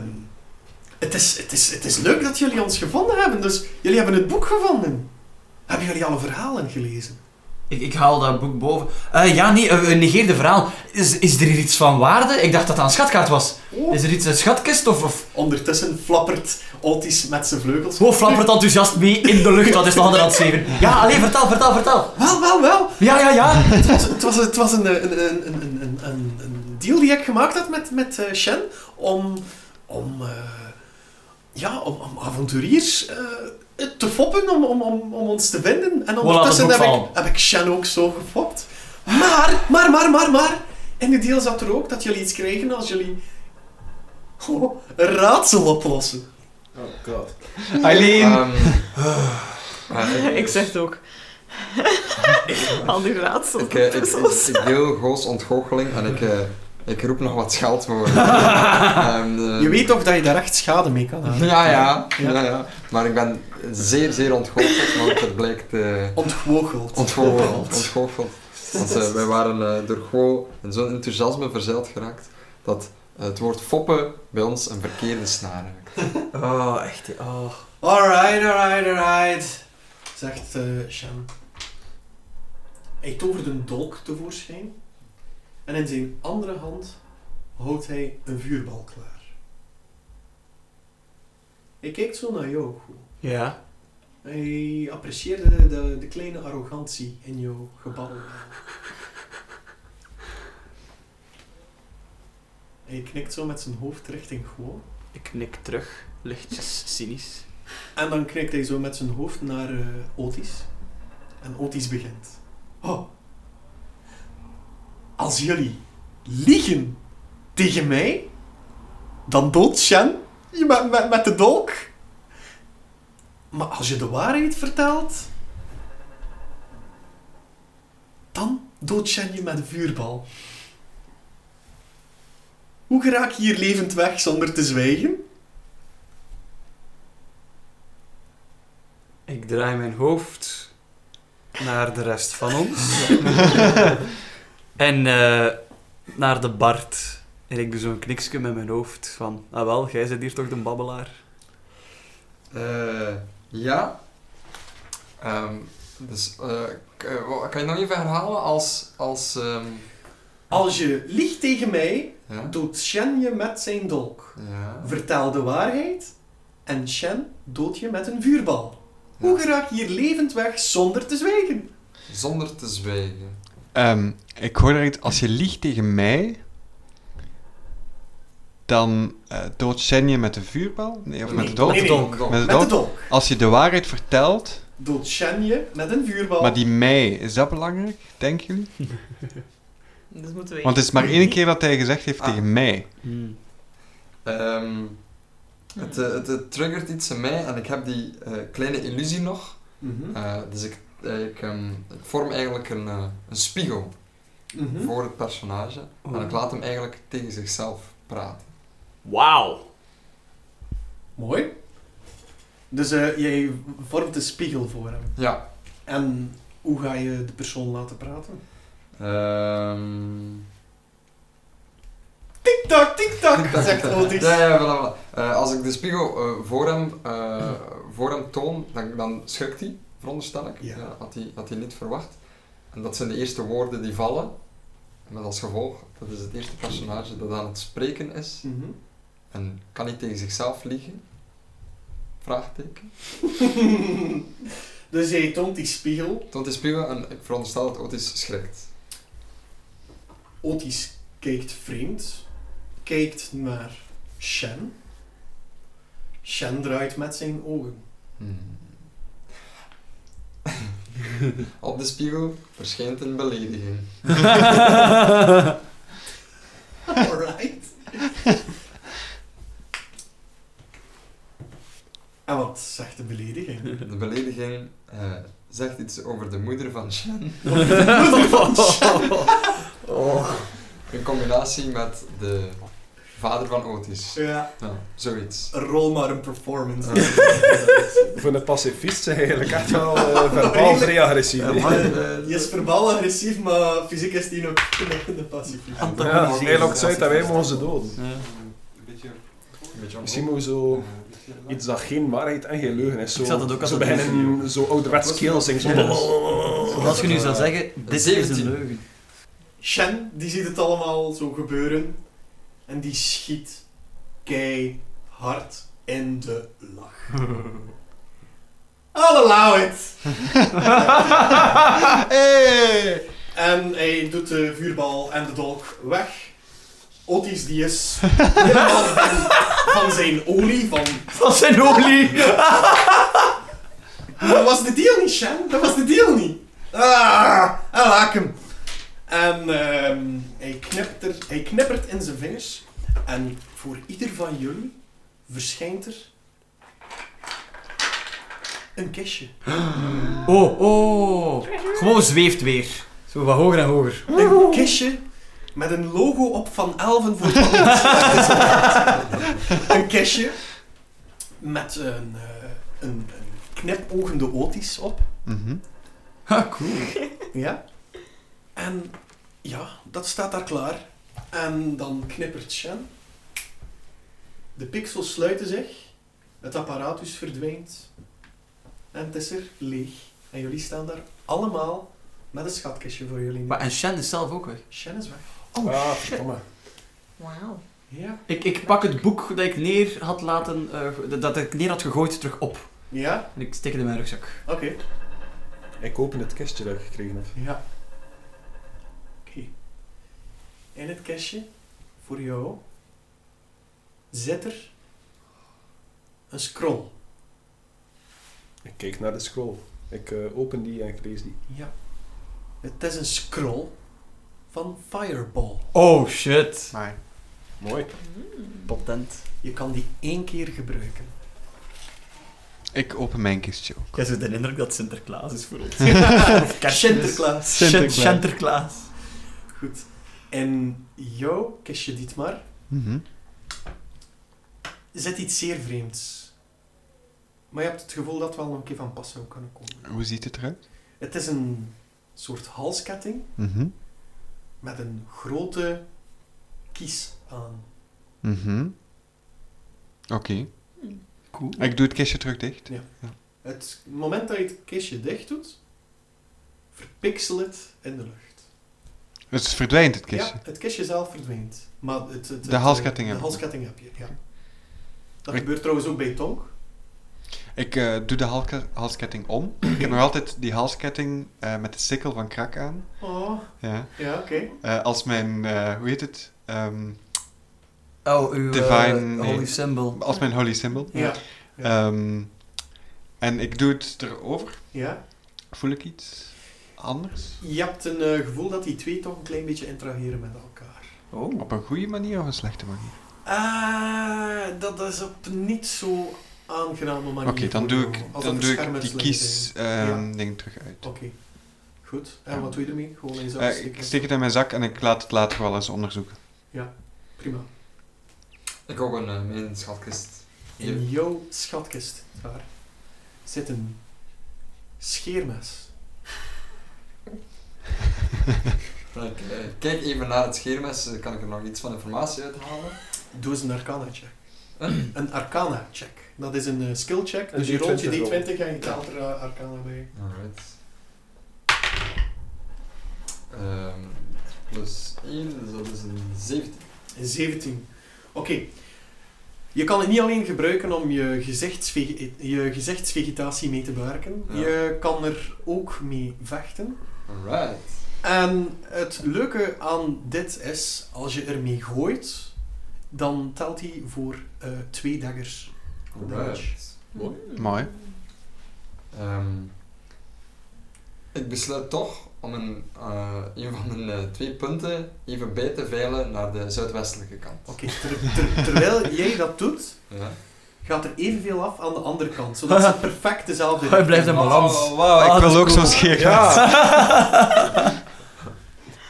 [SPEAKER 1] het, is, het, is, het is leuk dat jullie ons gevonden hebben, dus jullie hebben het boek gevonden. Hebben jullie alle verhalen gelezen?
[SPEAKER 7] Ik, ik haal dat boek boven. Eh, ja, nee, eh, negeer de verhaal. Is, is er hier iets van waarde? Ik dacht dat dat een schatkaart was. Is er iets, een schatkist of... of...
[SPEAKER 1] Ondertussen flappert Otis met zijn vleugels.
[SPEAKER 7] Ho, flappert enthousiast mee in de lucht, dat is nog aan de hand zeven. Ja, alleen vertel, vertel, vertel.
[SPEAKER 1] Wel, wel, wel.
[SPEAKER 7] Ja, ja, ja.
[SPEAKER 1] Het was, het was, het was een, eh, een, een, een, een, een, een deal die ik gemaakt had met, met eh, Shen om, om, eh, ja, om, om avonturiers eh, te foppen, om, om, om, om ons te vinden. En ondertussen
[SPEAKER 7] boek
[SPEAKER 1] heb ik,
[SPEAKER 7] vallen.
[SPEAKER 1] heb ik Shen ook zo gefopt. Maar, maar, maar, maar, maar, in de deal zat er ook dat jullie iets kregen als jullie oh, een raadsel oplossen.
[SPEAKER 3] Oh god.
[SPEAKER 4] Eileen!
[SPEAKER 6] Ehm, eh,
[SPEAKER 5] ik zeg het ook. Al die raadsels.
[SPEAKER 6] Ik, eh, ik, ik, ik deel Goos ontgoocheling en ik, eh, ik roep nog wat scheldwoorden. Ehm, eh,
[SPEAKER 1] Je weet toch dat je daar echt schade mee kan halen.
[SPEAKER 6] Ja ja, ja, ja. Maar ik ben zeer, zeer ontgoocheld, want het blijkt eh
[SPEAKER 1] Ontgoocheld.
[SPEAKER 6] ontgoocheld. ontgoocheld. Want eh, wij waren eh, door Go in zo'n enthousiasme verzeild geraakt dat eh, het woord foppen bij ons een verkeerde snaar raakt.
[SPEAKER 7] Oh, echt. Oh.
[SPEAKER 1] Alright, alright, alright, zegt eh Shem. Hij tovert een dolk tevoorschijn en in zijn andere hand houdt hij een vuurbal klaar. Hij kijkt zo naar jou. Goe.
[SPEAKER 2] Ja.
[SPEAKER 1] Hij apprecieert de, de, de kleine arrogantie in jouw gebabbel. Hij knikt zo met zijn hoofd richting gewoon.
[SPEAKER 2] Ik knik terug, lichtjes cynisch.
[SPEAKER 1] En dan knikt hij zo met zijn hoofd naar eh, Otis. En Otis begint. Oh. Als jullie liegen tegen mij, dan doodt Shen je met, met, met de dolk. Maar als je de waarheid vertelt, dan doodt Shen je met een vuurbal. Hoe geraak je hier levend weg zonder te zwijgen?
[SPEAKER 2] Ik draai mijn hoofd naar de rest van ons. en eh, naar de Bart. En ik doe zo'n kniksje met mijn hoofd van... Ah wel, jij zit hier toch de babbelaar?
[SPEAKER 6] Eh, ja. Ehm, dus eh, k- eh, wa- kan je nog even herhalen als... als ehm,
[SPEAKER 1] Als je liegt tegen mij,
[SPEAKER 6] ja?
[SPEAKER 1] doodt Shen je met zijn dolk.
[SPEAKER 6] Ja.
[SPEAKER 1] Vertel de waarheid en Shen doodt je met een vuurbal. Hoe geraak je hier levend weg zonder te zwijgen?
[SPEAKER 6] Zonder te zwijgen.
[SPEAKER 4] Ehm, ik hoor er iets. Als je liegt tegen mij, dan eh doodt Shen je met de vuurbal? Nee, of
[SPEAKER 6] Nee,
[SPEAKER 4] met de dolk?
[SPEAKER 1] nee, nee.
[SPEAKER 6] Donk.
[SPEAKER 4] Met de
[SPEAKER 1] Met de
[SPEAKER 4] dolk.
[SPEAKER 1] dolk
[SPEAKER 4] Als je de waarheid vertelt,
[SPEAKER 1] doodt Shen je met een vuurbal.
[SPEAKER 4] maar die mij, is dat belangrijk, denken jullie?
[SPEAKER 5] Dat Dus moeten we
[SPEAKER 4] Want het is maar één keer dat hij gezegd heeft
[SPEAKER 6] Ah.
[SPEAKER 4] tegen mij.
[SPEAKER 6] Ehm, het, eh, het, het triggert iets in mij en ik heb die eh, kleine illusie nog.
[SPEAKER 1] Mhm,
[SPEAKER 6] Eh, dus ik, eh, ik, ehm, ik vorm eigenlijk een, eh, een spiegel
[SPEAKER 1] mhm.
[SPEAKER 6] voor het personage. En ik laat hem eigenlijk tegen zichzelf praten.
[SPEAKER 2] Wauw!
[SPEAKER 1] Mooi. Dus eh, jij vormt een spiegel voor hem.
[SPEAKER 6] Ja.
[SPEAKER 1] En hoe ga je de persoon laten praten?
[SPEAKER 6] Ehm
[SPEAKER 1] Tik-tak, tik-tak, zegt
[SPEAKER 6] Ja,
[SPEAKER 1] Otis.
[SPEAKER 6] ja, voilà, voilà. Eh, als ik de spiegel eh, voor, hem, eh, voor hem toon, dan, dan schrikt hij, veronderstel ik.
[SPEAKER 1] Ja.
[SPEAKER 6] Ja. had, hij, had hij niet verwacht. En dat zijn de eerste woorden die vallen. Met als gevolg, dat is het eerste personage dat aan het spreken is.
[SPEAKER 1] Mhm.
[SPEAKER 6] En kan hij tegen zichzelf liegen? Vraagteken.
[SPEAKER 1] Dus hij toont die spiegel.
[SPEAKER 6] Toont is spiegel en ik veronderstel dat Otis schrikt.
[SPEAKER 1] Otis kijkt vreemd. Kijkt naar Shen. Shen draait met zijn ogen.
[SPEAKER 6] Op de spiegel verschijnt een belediging.
[SPEAKER 1] Alright. en wat zegt de belediging?
[SPEAKER 6] De belediging eh, zegt iets over de moeder van Shen.
[SPEAKER 4] Oh.
[SPEAKER 6] In combinatie met de vader van Otis.
[SPEAKER 1] Ja,
[SPEAKER 6] Nou, zoiets.
[SPEAKER 1] Eh, rol maar een performance.
[SPEAKER 3] Voor een pacifist zijn eigenlijk echt wel eh, verbaal vrij agressief. hè.
[SPEAKER 1] eh, Die is verbaal agressief, maar fysiek is die nog knikkende pacifist.
[SPEAKER 3] Ja, hij lokt ze uit dat wij mogen ze doden.
[SPEAKER 4] Een beetje...
[SPEAKER 6] Een beetje om-
[SPEAKER 3] Misschien moet je zo iets dat geen waarheid en geen leugen is. Zo,
[SPEAKER 8] Ik zat dat ook
[SPEAKER 3] zo
[SPEAKER 8] altijd
[SPEAKER 3] beginnen zo ouderwets keelzing. Zo. "Oh,
[SPEAKER 8] Ja. Als je nu zou zeggen, dit is een
[SPEAKER 6] 17.
[SPEAKER 8] leugen.
[SPEAKER 1] Shen, die ziet het allemaal zo gebeuren. En die schiet keihard in de lach. I'll allow it!
[SPEAKER 4] Hey!
[SPEAKER 1] En hij doet de vuurbal en de dolk weg. Otis die is helemaal van, van zijn olie, van...
[SPEAKER 8] Van zijn olie!
[SPEAKER 1] Dat was de deal niet, Shen. Dat was de deal niet. Ah, en laak hem. En ehm, hij, knippert, hij knippert in zijn vingers. En voor ieder van jullie verschijnt er een kistje.
[SPEAKER 8] Oh, oh. Gewoon zweeft weer. Zo van hoger en hoger.
[SPEAKER 1] Een kistje met een logo op van elven voor Een kistje met een, eh, een, een knipogende otis op.
[SPEAKER 4] Mhm.
[SPEAKER 8] Ha, cool.
[SPEAKER 1] Ja. En ja, dat staat daar klaar. En dan knippert Shen. De pixels sluiten zich. Het apparatus verdwijnt. En het is er leeg. En jullie staan daar allemaal met een schatkistje voor jullie.
[SPEAKER 8] Maar en Shen is zelf ook weg.
[SPEAKER 1] Shen is weg.
[SPEAKER 3] Ah, verdomme.
[SPEAKER 5] Wauw.
[SPEAKER 1] Ja.
[SPEAKER 8] Ik, ik pak het boek dat ik neer had laten... eh, dat ik neer had gegooid terug op.
[SPEAKER 1] Ja?
[SPEAKER 8] En ik steek het in mijn rugzak.
[SPEAKER 1] Oké.
[SPEAKER 3] Ik open het kistje dat ik gekregen heb.
[SPEAKER 1] Ja. Oké. In het kastje voor jou zit er een scroll.
[SPEAKER 3] Ik kijk naar de scroll. Ik eh, open die en ik lees die.
[SPEAKER 1] Ja. Het is een scroll van Fireball.
[SPEAKER 8] Oh, shit.
[SPEAKER 4] Maar
[SPEAKER 3] Mooi.
[SPEAKER 8] Potent.
[SPEAKER 1] Je kan die één keer gebruiken.
[SPEAKER 4] ik open mijn kistje ook.
[SPEAKER 8] Ik heb zo de indruk dat Sinterklaas is voor ons.
[SPEAKER 1] Sinterklaas.
[SPEAKER 4] Sinterklaas.
[SPEAKER 8] Sinterklaas.
[SPEAKER 1] Goed. En jouw kistje, Dietmar,
[SPEAKER 4] Mhm.
[SPEAKER 1] zit iets zeer vreemds. Maar je hebt het gevoel dat het wel nog een keer van pas zou kunnen komen.
[SPEAKER 4] Hoe ziet het eruit?
[SPEAKER 1] Het is een soort halsketting
[SPEAKER 4] Mhm.
[SPEAKER 1] met een grote kies aan.
[SPEAKER 4] Mhm. Oké.
[SPEAKER 8] Cool.
[SPEAKER 4] Ik doe het kistje terug dicht.
[SPEAKER 1] Het moment dat je het kistje dicht doet, verpixel het in de lucht.
[SPEAKER 4] Dus het verdwijnt het kistje.
[SPEAKER 1] Ja, het kistje zelf verdwijnt. Maar het, het, het-
[SPEAKER 4] De halsketting
[SPEAKER 1] de
[SPEAKER 4] heb je.
[SPEAKER 1] halsketting heb je. Ja. Dat
[SPEAKER 4] Ik-
[SPEAKER 1] gebeurt trouwens ook bij Tonk.
[SPEAKER 4] Ik eh, doe de halke- halsketting om. Ik heb nog altijd die halsketting eh, met de sikkel van krak aan.
[SPEAKER 1] Oh,
[SPEAKER 4] Ja.
[SPEAKER 1] ja, oké.
[SPEAKER 4] Eh, als mijn, eh, hoe heet het? Ehm,
[SPEAKER 8] Oh, uw eh,
[SPEAKER 4] Divine- nee.
[SPEAKER 8] holy symbol.
[SPEAKER 4] als mijn holy symbol.
[SPEAKER 1] Ja.
[SPEAKER 4] Ehm, en ik doe het erover.
[SPEAKER 1] ja.
[SPEAKER 4] Voel ik iets anders?
[SPEAKER 1] Je hebt een eh, gevoel dat die twee toch een klein beetje interageren met elkaar.
[SPEAKER 8] Oh.
[SPEAKER 4] Op een goede manier of een slechte manier?
[SPEAKER 1] Ah, dat is op niet zo aangename manier.
[SPEAKER 4] Oké, dan
[SPEAKER 1] voor
[SPEAKER 4] doe
[SPEAKER 1] jou,
[SPEAKER 4] ik,
[SPEAKER 1] als
[SPEAKER 4] dan
[SPEAKER 1] het
[SPEAKER 4] doe ik
[SPEAKER 1] beschermers
[SPEAKER 4] die
[SPEAKER 1] liggen
[SPEAKER 4] kies
[SPEAKER 1] zijn.
[SPEAKER 4] ehm, ding terug uit.
[SPEAKER 1] Oké, goed. En
[SPEAKER 4] Ja.
[SPEAKER 1] wat doe je ermee? Gewoon in zak
[SPEAKER 4] Eh, ik
[SPEAKER 1] steken?
[SPEAKER 4] steek het in mijn zak en ik laat het later wel eens onderzoeken.
[SPEAKER 1] Prima.
[SPEAKER 6] Ik ook een eh, mijn schatkist.
[SPEAKER 1] In jouw schatkist daar zit een scheermes.
[SPEAKER 6] Ik, eh, kijk even naar het scheermes, eh, kan ik er nog iets van informatie uithalen?
[SPEAKER 1] Doe eens een arcana check. Een arcana check. Dat is een eh, skill check.
[SPEAKER 3] Een
[SPEAKER 1] Dus je rolt je
[SPEAKER 3] D20
[SPEAKER 1] D20 en je telt er eh, arcana bij.
[SPEAKER 6] Alright. Ehm, plus 1, dus dat is een 17.
[SPEAKER 1] Een 17. Oké. Je kan het niet alleen gebruiken om je, gezichtsvege- je gezichtsvegetatie mee te bewerken.
[SPEAKER 6] Ja.
[SPEAKER 1] Je kan er ook mee vechten.
[SPEAKER 6] Alright.
[SPEAKER 1] En het leuke aan dit is, als je ermee gooit, dan telt hij voor eh, twee daggers. damage.
[SPEAKER 6] Alright.
[SPEAKER 3] Mooi.
[SPEAKER 4] Mooi.
[SPEAKER 6] Ehm, ik besluit toch om een, eh, een van mijn eh, twee punten even bij te veilen naar de zuidwestelijke kant.
[SPEAKER 1] Oké, ter- ter- terwijl jij dat doet,
[SPEAKER 6] Ja.
[SPEAKER 1] gaat er evenveel af aan de andere kant, zodat ze perfect dezelfde
[SPEAKER 8] Oh, Hij blijft een
[SPEAKER 1] richting
[SPEAKER 8] balans.
[SPEAKER 4] Oh, wauw,
[SPEAKER 8] Ah,
[SPEAKER 4] ik
[SPEAKER 8] dat is
[SPEAKER 4] wil ook
[SPEAKER 8] cool.
[SPEAKER 4] zo'n scheer.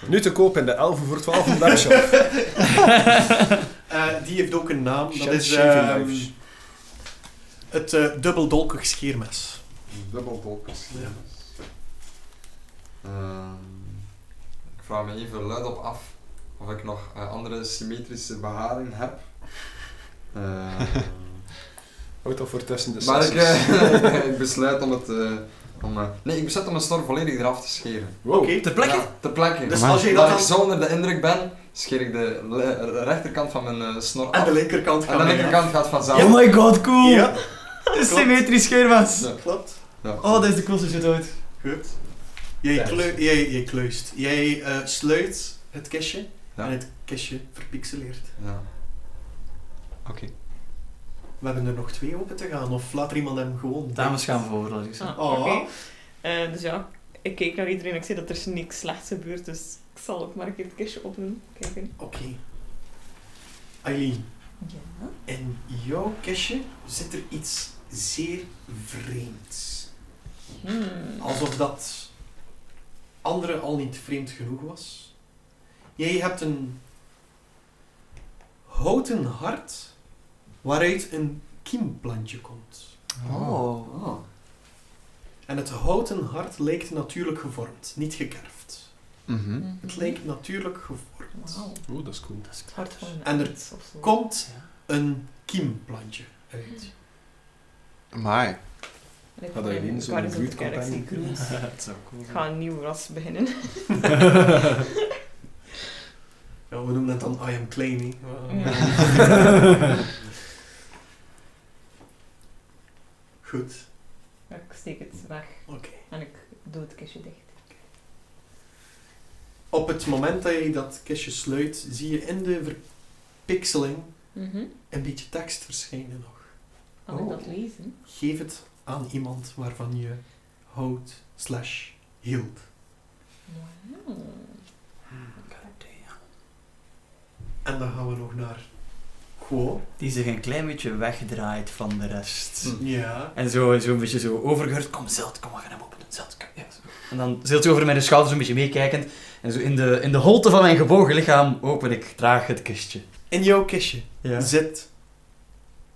[SPEAKER 3] Nu te koop in de 11 voor 12 van Darkshop.
[SPEAKER 1] Eh, die heeft ook een naam. Dat
[SPEAKER 3] Shell
[SPEAKER 1] is
[SPEAKER 3] shaving
[SPEAKER 1] ehm,
[SPEAKER 3] knives.
[SPEAKER 1] het eh, dubbeldolkig scheermes.
[SPEAKER 6] Dubbel dolkers. Ehm, ik vraag me even luidop af of ik nog eh, andere symmetrische beharing heb. Eh,
[SPEAKER 3] Houd dat voor tussen de
[SPEAKER 6] maar ik,
[SPEAKER 3] sessies.
[SPEAKER 6] eh, ik besluit om het. eh, om, eh, nee, ik besluit om mijn snor volledig eraf te scheren.
[SPEAKER 3] Wow.
[SPEAKER 1] Oké.
[SPEAKER 8] Ter plekke?
[SPEAKER 6] Ja, ter plekke.
[SPEAKER 1] Dus
[SPEAKER 4] Amai.
[SPEAKER 1] als jij
[SPEAKER 6] Omdat
[SPEAKER 1] dat
[SPEAKER 6] ik
[SPEAKER 1] dan
[SPEAKER 6] zo onder de indruk ben, scheer ik de le- rechterkant van mijn eh, snor
[SPEAKER 1] aan
[SPEAKER 6] af.
[SPEAKER 1] de linkerkant
[SPEAKER 6] En de
[SPEAKER 1] gaat.
[SPEAKER 6] linkerkant gaat vanzelf.
[SPEAKER 8] Oh my god, cool!
[SPEAKER 1] Ja,
[SPEAKER 8] Symmetrisch schermas.
[SPEAKER 1] klopt.
[SPEAKER 6] Ja.
[SPEAKER 8] Oh, dat is de coolste shit ooit.
[SPEAKER 1] Goed. Jij,
[SPEAKER 7] Ja.
[SPEAKER 1] kleu- jij, jij kluist. Jij eh, sluit het kistje
[SPEAKER 6] Ja.
[SPEAKER 1] en het kistje verpixeleert.
[SPEAKER 6] Ja.
[SPEAKER 1] We hebben er nog twee open te gaan, of laat er iemand hem gewoon.
[SPEAKER 8] Dames gaan voor, laat ik zeggen.
[SPEAKER 5] Ah,
[SPEAKER 1] Oh.
[SPEAKER 5] oké. Eh, dus ja, ik keek naar iedereen en ik zei dat er dus niks slechts gebeurt, dus ik zal ook maar een keer het kistje opdoen. Kijken.
[SPEAKER 1] Oké. Aileen,
[SPEAKER 5] Ja.
[SPEAKER 1] in jouw kistje zit er iets zeer vreemds.
[SPEAKER 5] Hmm.
[SPEAKER 1] Alsof dat andere al niet vreemd genoeg was. Jij hebt een houten hart waaruit een kiemplantje komt.
[SPEAKER 8] Oh.
[SPEAKER 1] En het houten hart lijkt natuurlijk gevormd, niet gekerfd.
[SPEAKER 4] Mhm.
[SPEAKER 1] Het lijkt natuurlijk gevormd.
[SPEAKER 5] Wauw,
[SPEAKER 3] Oeh, dat is cool.
[SPEAKER 5] het hart van een
[SPEAKER 1] En er
[SPEAKER 5] arts of zo.
[SPEAKER 1] Komt een kiemplantje uit.
[SPEAKER 4] Amai.
[SPEAKER 5] En ik
[SPEAKER 3] Had hij
[SPEAKER 5] ben
[SPEAKER 3] niet zo'n
[SPEAKER 5] Guardians of the
[SPEAKER 3] buurtcampagne?
[SPEAKER 5] Galaxy Cruise.
[SPEAKER 8] Dat is ook cool.
[SPEAKER 5] Ik ga een nieuw ras beginnen.
[SPEAKER 1] Ja, we noemen dat dan I am Klein. hè. Goed.
[SPEAKER 5] Ik steek het weg
[SPEAKER 1] Oké.
[SPEAKER 5] en ik doe het kistje dicht.
[SPEAKER 1] Op het moment dat je dat kistje sluit, zie je in de verpixeling
[SPEAKER 5] Mhm.
[SPEAKER 1] een beetje tekst verschijnen nog.
[SPEAKER 5] Kan
[SPEAKER 4] Oh.
[SPEAKER 5] ik dat lezen?
[SPEAKER 1] Geef het aan iemand waarvan je houdt slash hield.
[SPEAKER 5] Wauw.
[SPEAKER 1] En dan gaan we nog naar Guo.
[SPEAKER 8] Die zich een klein beetje wegdraait van de rest.
[SPEAKER 1] Ja.
[SPEAKER 8] En zo, zo een beetje zo overgehurd. Kom, Zeld, kom, we gaan hem openen. Zeld, kom. Ja, zo. En dan Zeld zo over mijn schouders een beetje meekijkend. En zo in de, in de holte van mijn gebogen lichaam open ik traag het kistje.
[SPEAKER 1] In jouw kistje
[SPEAKER 8] Ja. Oké.
[SPEAKER 1] zit,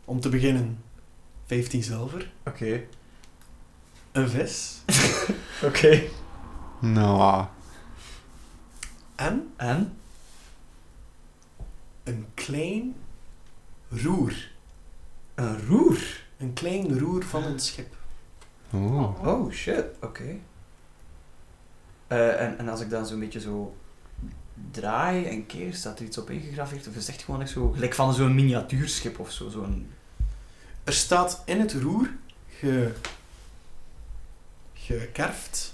[SPEAKER 1] om te beginnen, 15 zilver, een vis
[SPEAKER 8] Oké.
[SPEAKER 4] Nou,
[SPEAKER 1] en
[SPEAKER 8] En?
[SPEAKER 1] een klein roer.
[SPEAKER 8] Een roer.
[SPEAKER 1] Een klein roer van een schip.
[SPEAKER 4] oeh.
[SPEAKER 8] Oh, shit. Oké. Eh, en, en als ik dan zo'n beetje zo draai en keer, staat er iets op ingegraveerd? Of is het echt gewoon echt zo, gelijk van zo'n miniatuurschip of zo? Zo'n...
[SPEAKER 1] Er staat in het roer ge... gekerfd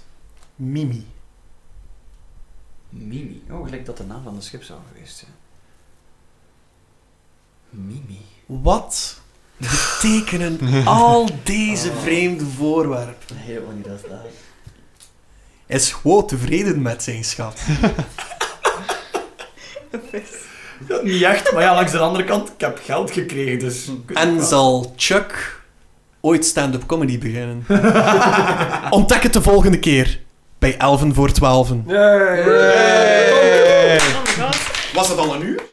[SPEAKER 1] Mimi.
[SPEAKER 8] Mimi. Oh, gelijk dat de naam van het schip zou geweest zijn. Mimi.
[SPEAKER 1] Wat betekenen al deze vreemde voorwerpen?
[SPEAKER 8] Heel niet dat daar.
[SPEAKER 1] Is Guo tevreden met zijn schat?
[SPEAKER 8] Niet echt, maar ja, langs de andere kant, ik heb geld gekregen, dus...
[SPEAKER 1] En zal Chuck ooit stand-up comedy beginnen? Ontdek het de volgende keer bij 11 voor 12.
[SPEAKER 3] Yay!
[SPEAKER 4] Hey.
[SPEAKER 5] Oh my god.
[SPEAKER 1] Was dat al een uur?